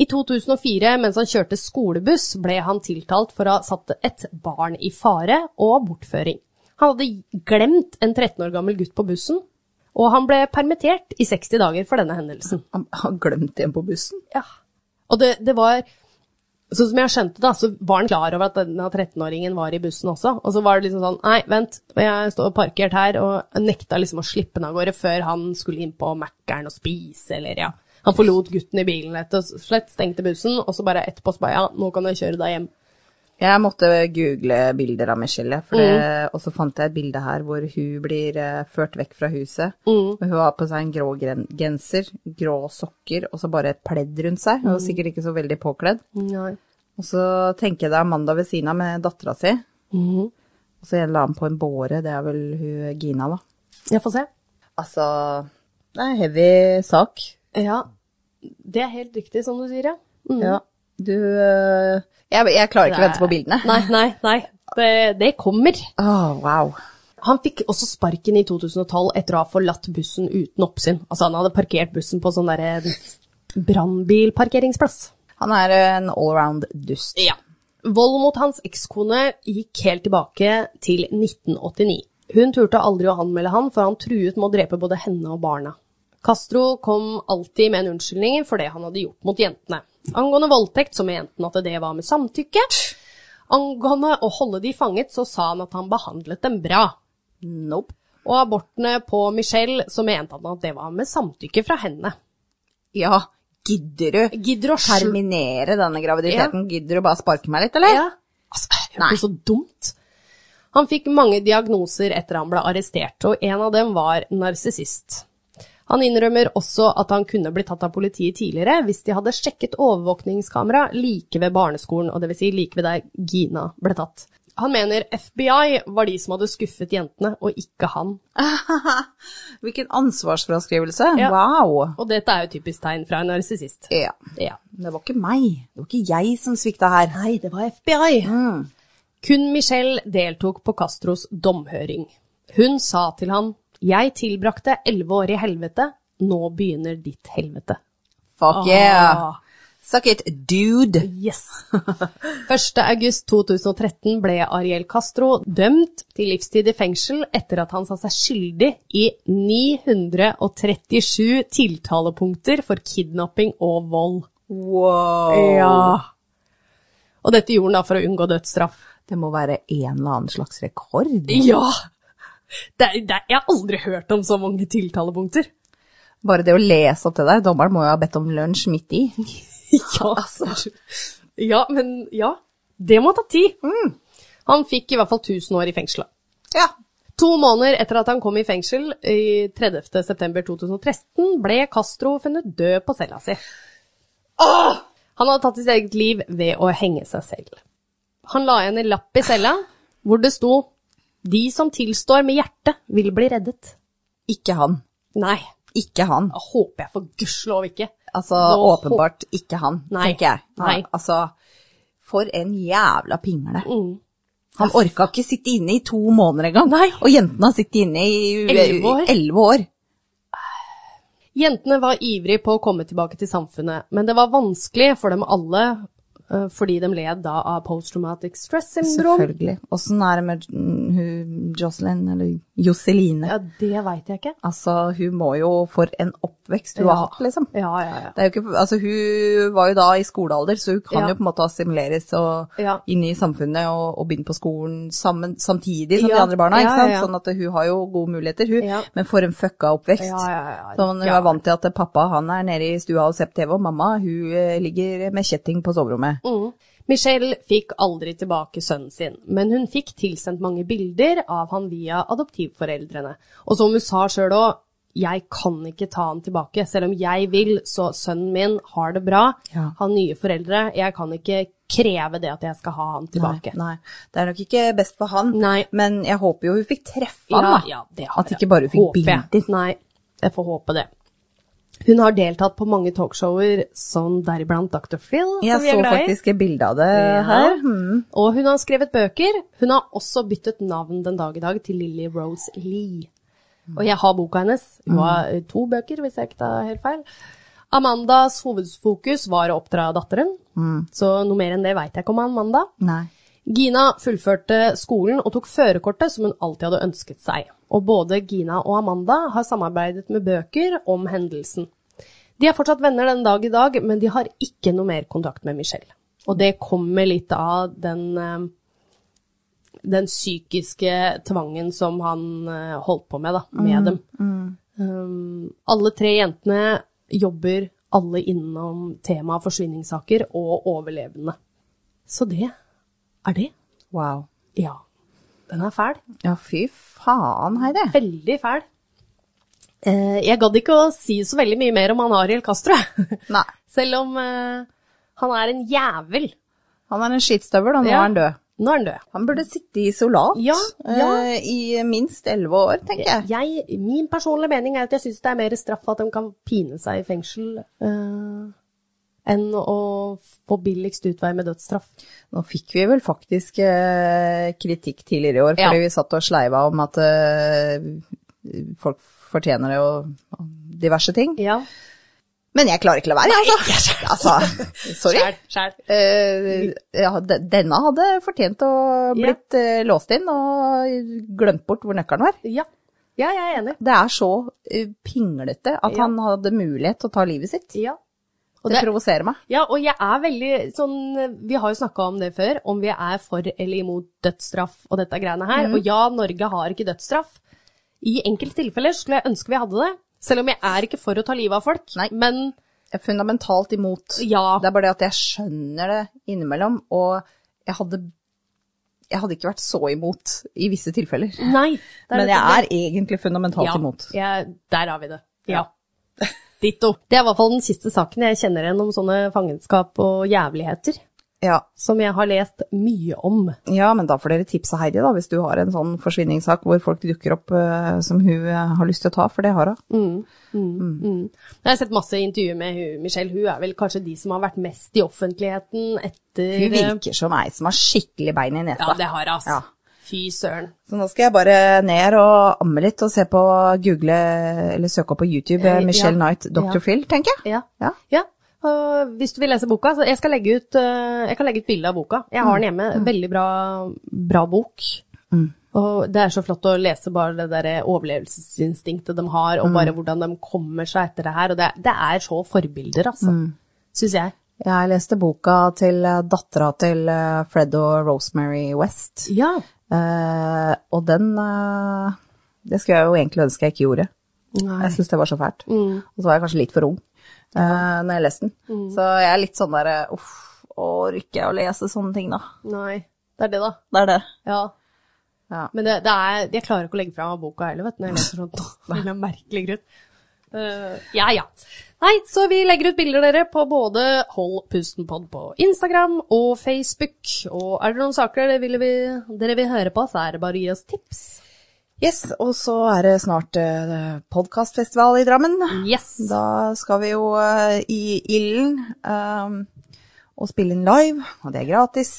Speaker 1: I 2004, mens han kjørte skolebuss, ble han tiltalt for å ha satt et barn i fare og bortføring. Han hadde glemt en 13 år gammel gutt på bussen, og han ble permittert i 60 dager for denne hendelsen.
Speaker 2: han har glemt en på bussen.
Speaker 1: Ja. Og det, det var Så som jeg skjønte da, så var han klar over at denne 13-åringen var i bussen også. Og så var det liksom sånn, nei, vent, jeg står parkert her, og nekta liksom å slippe den av gårde før han skulle inn på Mækkern og spise, eller ja. Han forlot gutten i bilen rett og slett, stengte bussen, og så bare etterpå så bare, ja, nå kan jeg kjøre deg hjem.
Speaker 2: Jeg måtte google bilder av Michelle, for det,
Speaker 1: Mm.
Speaker 2: og så fant jeg et bilde her hvor hun blir eh, ført vekk fra huset.
Speaker 1: Mm.
Speaker 2: Og Hun har på seg en grå gren- genser, grå sokker og så bare et pledd rundt seg.
Speaker 1: Mm.
Speaker 2: Hun var sikkert ikke så veldig påkledd.
Speaker 1: Nei.
Speaker 2: Og så tenker jeg det er Amanda ved siden av med dattera si.
Speaker 1: Mm.
Speaker 2: Og så en la han på en båre, det er vel hun Gina, da.
Speaker 1: Jeg får se.
Speaker 2: Altså, det er en heavy sak.
Speaker 1: Ja, det er helt riktig som du sier, ja. Mm.
Speaker 2: Ja. Du eh, jeg, jeg klarer ikke å vente på bildene.
Speaker 1: Nei, nei, nei. Det, det kommer.
Speaker 2: Åh, wow.
Speaker 1: Han fikk også sparken i 2012 etter å ha forlatt bussen uten oppsyn. Altså, han hadde parkert bussen på sånn derre brannbilparkeringsplass.
Speaker 2: Han er en allround dust.
Speaker 1: Ja. Vold mot hans ekskone gikk helt tilbake til 1989. Hun turte aldri å anmelde han, for han truet med å drepe både henne og barna. Castro kom alltid med en unnskyldning for det han hadde gjort mot jentene. Angående voldtekt så mente han at det var med samtykke. Angående å holde de fanget så sa han at han behandlet dem bra.
Speaker 2: Nope.
Speaker 1: Og abortene på Michelle så mente han at det var med samtykke fra henne.
Speaker 2: Ja, gidder du
Speaker 1: Gidder å skjul-
Speaker 2: terminere denne graviditeten? Gidder du bare sparke meg litt, eller?
Speaker 1: Ja. Altså, det er jo så dumt. Han fikk mange diagnoser etter han ble arrestert, og en av dem var narsissist. Han innrømmer også at han kunne blitt tatt av politiet tidligere hvis de hadde sjekket overvåkningskamera like ved barneskolen, og dvs. Si like ved der Gina ble tatt. Han mener FBI var de som hadde skuffet jentene, og ikke han.
Speaker 2: Hvilken ansvarsfraskrivelse.
Speaker 1: Ja.
Speaker 2: Wow.
Speaker 1: Og dette er jo typisk tegn fra en narsissist.
Speaker 2: Ja.
Speaker 1: Ja.
Speaker 2: Det var ikke meg. Det var ikke jeg som svikta her.
Speaker 1: Nei, det var FBI.
Speaker 2: Mm.
Speaker 1: Kun Michelle deltok på Castros domhøring. Hun sa til han, jeg tilbrakte 11 år i helvete, nå begynner ditt helvete.
Speaker 2: Fuck yeah.
Speaker 1: Ah,
Speaker 2: Suck it, dude.
Speaker 1: yes. 1. august 2013 ble Ariel Castro dømt til livstid i fengsel etter at han sa seg skyldig i 937 tiltalepunkter for kidnapping og vold.
Speaker 2: Wow.
Speaker 1: Og dette gjorde han da for å unngå dødsstraff.
Speaker 2: Det må være en eller annen slags rekord.
Speaker 1: Ja! Det er, det er, jeg har aldri hørt om så mange tiltalepunkter.
Speaker 2: Bare det å lese opp det der. Dommeren må jo ha bedt om lunsj midt i.
Speaker 1: Ja, ja men ja. Det må ta tid. Han fikk i hvert fall 1000 år i fengsel.
Speaker 2: Ja.
Speaker 1: To måneder etter at han kom i fengsel, i 30.9.2013, ble Castro funnet død på cella si. Han hadde tatt sitt eget liv ved å henge seg selv. Han la igjen en lapp i cella hvor det sto 'De som tilstår med hjertet, vil bli reddet'.
Speaker 2: Ikke han.
Speaker 1: Nei,
Speaker 2: Ikke han.
Speaker 1: Da håper jeg for gudskjelov ikke.
Speaker 2: Altså
Speaker 1: Nå hå-
Speaker 2: åpenbart ikke han,
Speaker 1: Nei.
Speaker 2: tenker jeg. Ja,
Speaker 1: Nei.
Speaker 2: Altså, for en jævla pingle.
Speaker 1: Mm.
Speaker 2: Han orka ikke sitte inne i to måneder engang.
Speaker 1: Nei.
Speaker 2: Og jentene har sittet inne i
Speaker 1: Elleve år.
Speaker 2: elleve år.
Speaker 1: Jentene var ivrige på å komme tilbake til samfunnet, men det var vanskelig for dem alle eh, fordi de led da av post-traumatic stress syndrom.
Speaker 2: Selvfølgelig. Åssen er det med mm, hun Jocelyn, eller Joseline?
Speaker 1: Ja, det veit jeg ikke.
Speaker 2: Altså, hun må jo for en oppvekst hun
Speaker 1: Ja.
Speaker 2: har hatt, liksom.
Speaker 1: Ja, ja, ja.
Speaker 2: Det er jo ikke, altså Hun var jo da i skolealder, så hun kan
Speaker 1: Ja.
Speaker 2: jo på en måte assimileres og
Speaker 1: Ja.
Speaker 2: inn i samfunnet og, og begynne på skolen sammen, samtidig som
Speaker 1: Ja.
Speaker 2: de andre barna.
Speaker 1: Ja,
Speaker 2: ikke
Speaker 1: ja,
Speaker 2: sant?
Speaker 1: ja.
Speaker 2: Sånn at hun har jo gode muligheter, hun.
Speaker 1: Ja.
Speaker 2: Men for en fucka oppvekst.
Speaker 1: Ja, ja, ja.
Speaker 2: Så hun
Speaker 1: Ja.
Speaker 2: er vant til at pappa han er nede i stua og ser på TV, og mamma hun eh, ligger med kjetting på soverommet.
Speaker 1: Mm. Michelle fikk aldri tilbake sønnen sin, men hun fikk tilsendt mange bilder av han via adoptivforeldrene. Og som hun sa sjøl òg, jeg kan ikke ta han tilbake, selv om jeg vil, så sønnen min har det bra,
Speaker 2: Ja.
Speaker 1: har nye foreldre, jeg kan ikke kreve det at jeg skal ha han tilbake.
Speaker 2: Nei, nei, det er nok ikke best for han,
Speaker 1: Nei.
Speaker 2: men jeg håper jo hun fikk treffe han,
Speaker 1: ja,
Speaker 2: da.
Speaker 1: ja, det har
Speaker 2: at
Speaker 1: jeg.
Speaker 2: ikke bare hun
Speaker 1: Håper
Speaker 2: fikk
Speaker 1: jeg.
Speaker 2: bilder.
Speaker 1: Nei, jeg får håpe det. Hun har deltatt på mange talkshower, som deriblant Dr. Phil,
Speaker 2: Jeg
Speaker 1: som vi er
Speaker 2: så
Speaker 1: glad i.
Speaker 2: faktisk et bilde av det
Speaker 1: Ja.
Speaker 2: her. Mm.
Speaker 1: Og hun har skrevet bøker. Hun har også byttet navn den dag i dag til Lily Rose Lee. Og jeg har boka hennes.
Speaker 2: Mm.
Speaker 1: Hun har eh, to bøker, hvis jeg ikke tar helt feil. Amandas hovedfokus var å oppdra datteren,
Speaker 2: Mm.
Speaker 1: så noe mer enn det veit jeg ikke om Amanda.
Speaker 2: Nei.
Speaker 1: Gina fullførte skolen og tok førerkortet som hun alltid hadde ønsket seg. Og både Gina og Amanda har samarbeidet med bøker om hendelsen. De er fortsatt venner den dag i dag, men de har ikke noe mer kontakt med Michelle. Og det kommer litt av den eh, den psykiske tvangen som han eh, holdt på med, da, med dem. Um, alle tre jentene jobber alle innom temaet forsvinningssaker og overlevende. Så det er det.
Speaker 2: Wow.
Speaker 1: Ja. Den er fæl.
Speaker 2: Ja, fy faen, Heidi.
Speaker 1: Veldig fæl. Eh, jeg gadd ikke å si så veldig mye mer om han Ariel Castro, jeg.
Speaker 2: Nei.
Speaker 1: selv om eh, han er en jævel.
Speaker 2: Han er en skitstøvel, og nå
Speaker 1: Ja.
Speaker 2: er han død.
Speaker 1: Nå er han død.
Speaker 2: Han burde sitte i isolat
Speaker 1: Ja, ja.
Speaker 2: eh, i minst elleve år, tenker jeg.
Speaker 1: jeg, min personlige mening er at jeg syns det er mer straff at de kan pine seg i fengsel eh, enn å få billigst utvei med dødsstraff.
Speaker 2: Nå fikk vi vel faktisk eh, kritikk tidligere i år, fordi
Speaker 1: Ja.
Speaker 2: vi satt og sleiva om at eh, folk fortjener det og diverse ting.
Speaker 1: Ja.
Speaker 2: Men jeg klarer ikke å la være, jeg, altså. altså. Sorry.
Speaker 1: Skjæl, skjæl.
Speaker 2: Eh, ja, de- denne hadde fortjent å blitt eh, låst inn og glemt bort hvor nøkkelen var.
Speaker 1: Ja. ja, jeg er enig.
Speaker 2: Det er så eh, pinglete at
Speaker 1: Ja.
Speaker 2: han hadde mulighet til å ta livet sitt.
Speaker 1: Ja. Og
Speaker 2: Det,
Speaker 1: det,
Speaker 2: provoserer meg.
Speaker 1: ja, og jeg er veldig sånn Vi har jo snakka om det før, om vi er for eller imot dødsstraff og dette greiene her.
Speaker 2: Mhm.
Speaker 1: Og ja, Norge har ikke dødsstraff. I enkelte tilfeller skulle jeg ønske vi hadde det. Selv om jeg er ikke for å ta livet av folk.
Speaker 2: Nei.
Speaker 1: Men
Speaker 2: Jeg er fundamentalt imot.
Speaker 1: ja.
Speaker 2: Det er bare det at jeg skjønner det innimellom, og jeg hadde, jeg hadde ikke vært så imot i visse tilfeller.
Speaker 1: Nei. Mm. det
Speaker 2: Men
Speaker 1: nettopp det.
Speaker 2: jeg er egentlig fundamentalt imot.
Speaker 1: Ja, der har vi det. Ja. Ditto. Det er i hvert fall den siste saken jeg kjenner igjen om sånne fangenskap og jævligheter,
Speaker 2: Ja.
Speaker 1: som jeg har lest mye om.
Speaker 2: ja, men da får dere tipse Heidi, da, hvis du har en sånn forsvinningssak hvor folk dukker opp eh, som hun eh, har lyst til å ta, for det har hun.
Speaker 1: Mm, Jeg har sett masse intervjuer med hun, Michelle. Hun er vel kanskje de som har vært mest i offentligheten etter eh,
Speaker 2: Hun virker som ei som har skikkelig bein i
Speaker 1: Ja,
Speaker 2: nesa.
Speaker 1: det har hun, altså.
Speaker 2: Ja.
Speaker 1: Fy søren.
Speaker 2: Så nå skal jeg bare ned og amme litt og se på google, eller søke opp på YouTube eh,
Speaker 1: Eh,
Speaker 2: Michelle
Speaker 1: ja.
Speaker 2: Knight, Dr.
Speaker 1: Ja.
Speaker 2: Phil, tenker jeg.
Speaker 1: Ja.
Speaker 2: Ja.
Speaker 1: Ja, og hvis du vil lese boka, så jeg skal legge ut, eh, jeg kan legge ut bilde av boka. Jeg har den hjemme, veldig bra, bra bok. Og det er så flott å lese bare det der overlevelsesinstinktet de har, og bare hvordan de kommer seg etter det her. Og det, det er så forbilder, altså. Syns jeg.
Speaker 2: Jeg leste boka til eh, dattera til eh, Fred og Rosemary West.
Speaker 1: Ja.
Speaker 2: Eh, og den eh, Det skulle jeg jo egentlig ønske jeg ikke gjorde. Jeg syns det var så fælt. Og så var jeg kanskje litt for ung eh, når jeg leste den. Så jeg er litt sånn derre uff, orker jeg å lese sånne ting, da?
Speaker 1: Nei. Det er det, da.
Speaker 2: Det er det.
Speaker 1: Ja.
Speaker 2: Ja.
Speaker 1: Men det, det er, jeg klarer ikke å legge fra meg boka heller, vet du, når jeg leser sånt. Det er en merkelig grunn. Eh, ja, ja. Nei, så vi legger ut bilder dere på både Hold pusten pod på Instagram og Facebook. Og er det noen saker dere vil, vi, dere vil høre på, så er det bare å gi oss tips.
Speaker 2: Yes, og så er det snart uh, podkastfestival i Drammen.
Speaker 1: Yes.
Speaker 2: Da skal vi jo eh, i ilden eh, og spille inn live, og det er gratis.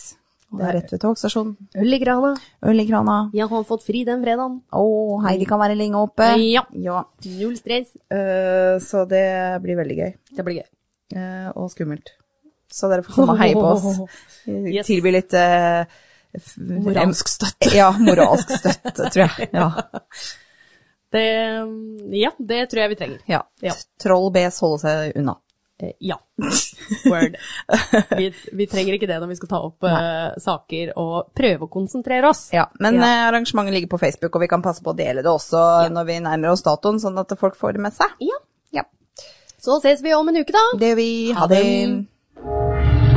Speaker 2: Det er rett ved togstasjonen.
Speaker 1: Øl i grana.
Speaker 2: Øl i krana.
Speaker 1: Jeg har fått fri den fredagen.
Speaker 2: Å, Heidi kan være lenge oppe.
Speaker 1: Ja.
Speaker 2: ja.
Speaker 1: Null stress.
Speaker 2: Eh, så det blir veldig gøy.
Speaker 1: Det blir gøy.
Speaker 2: eh, og skummelt. Så dere får komme og heie på oss.
Speaker 1: Yes.
Speaker 2: Tilby litt eh, f-
Speaker 1: Moralsk støtte.
Speaker 2: Ja, moralsk støtte, tror jeg. Ja.
Speaker 1: Det, ja, det tror jeg vi trenger.
Speaker 2: ja.
Speaker 1: Ja.
Speaker 2: Troll bes holde seg unna.
Speaker 1: Eh, Ja. Word. Vi, vi trenger ikke det når vi skal ta opp eh, saker og prøve å konsentrere oss.
Speaker 2: Ja, men
Speaker 1: Ja.
Speaker 2: eh, arrangementet ligger på Facebook, og vi kan passe på å dele det også når vi nærmer oss datoen, sånn at folk får det med seg.
Speaker 1: Ja.
Speaker 2: Ja.
Speaker 1: Så ses vi om en uke, da.
Speaker 2: Det gjør vi.
Speaker 1: Ha
Speaker 2: Ha det.
Speaker 1: det.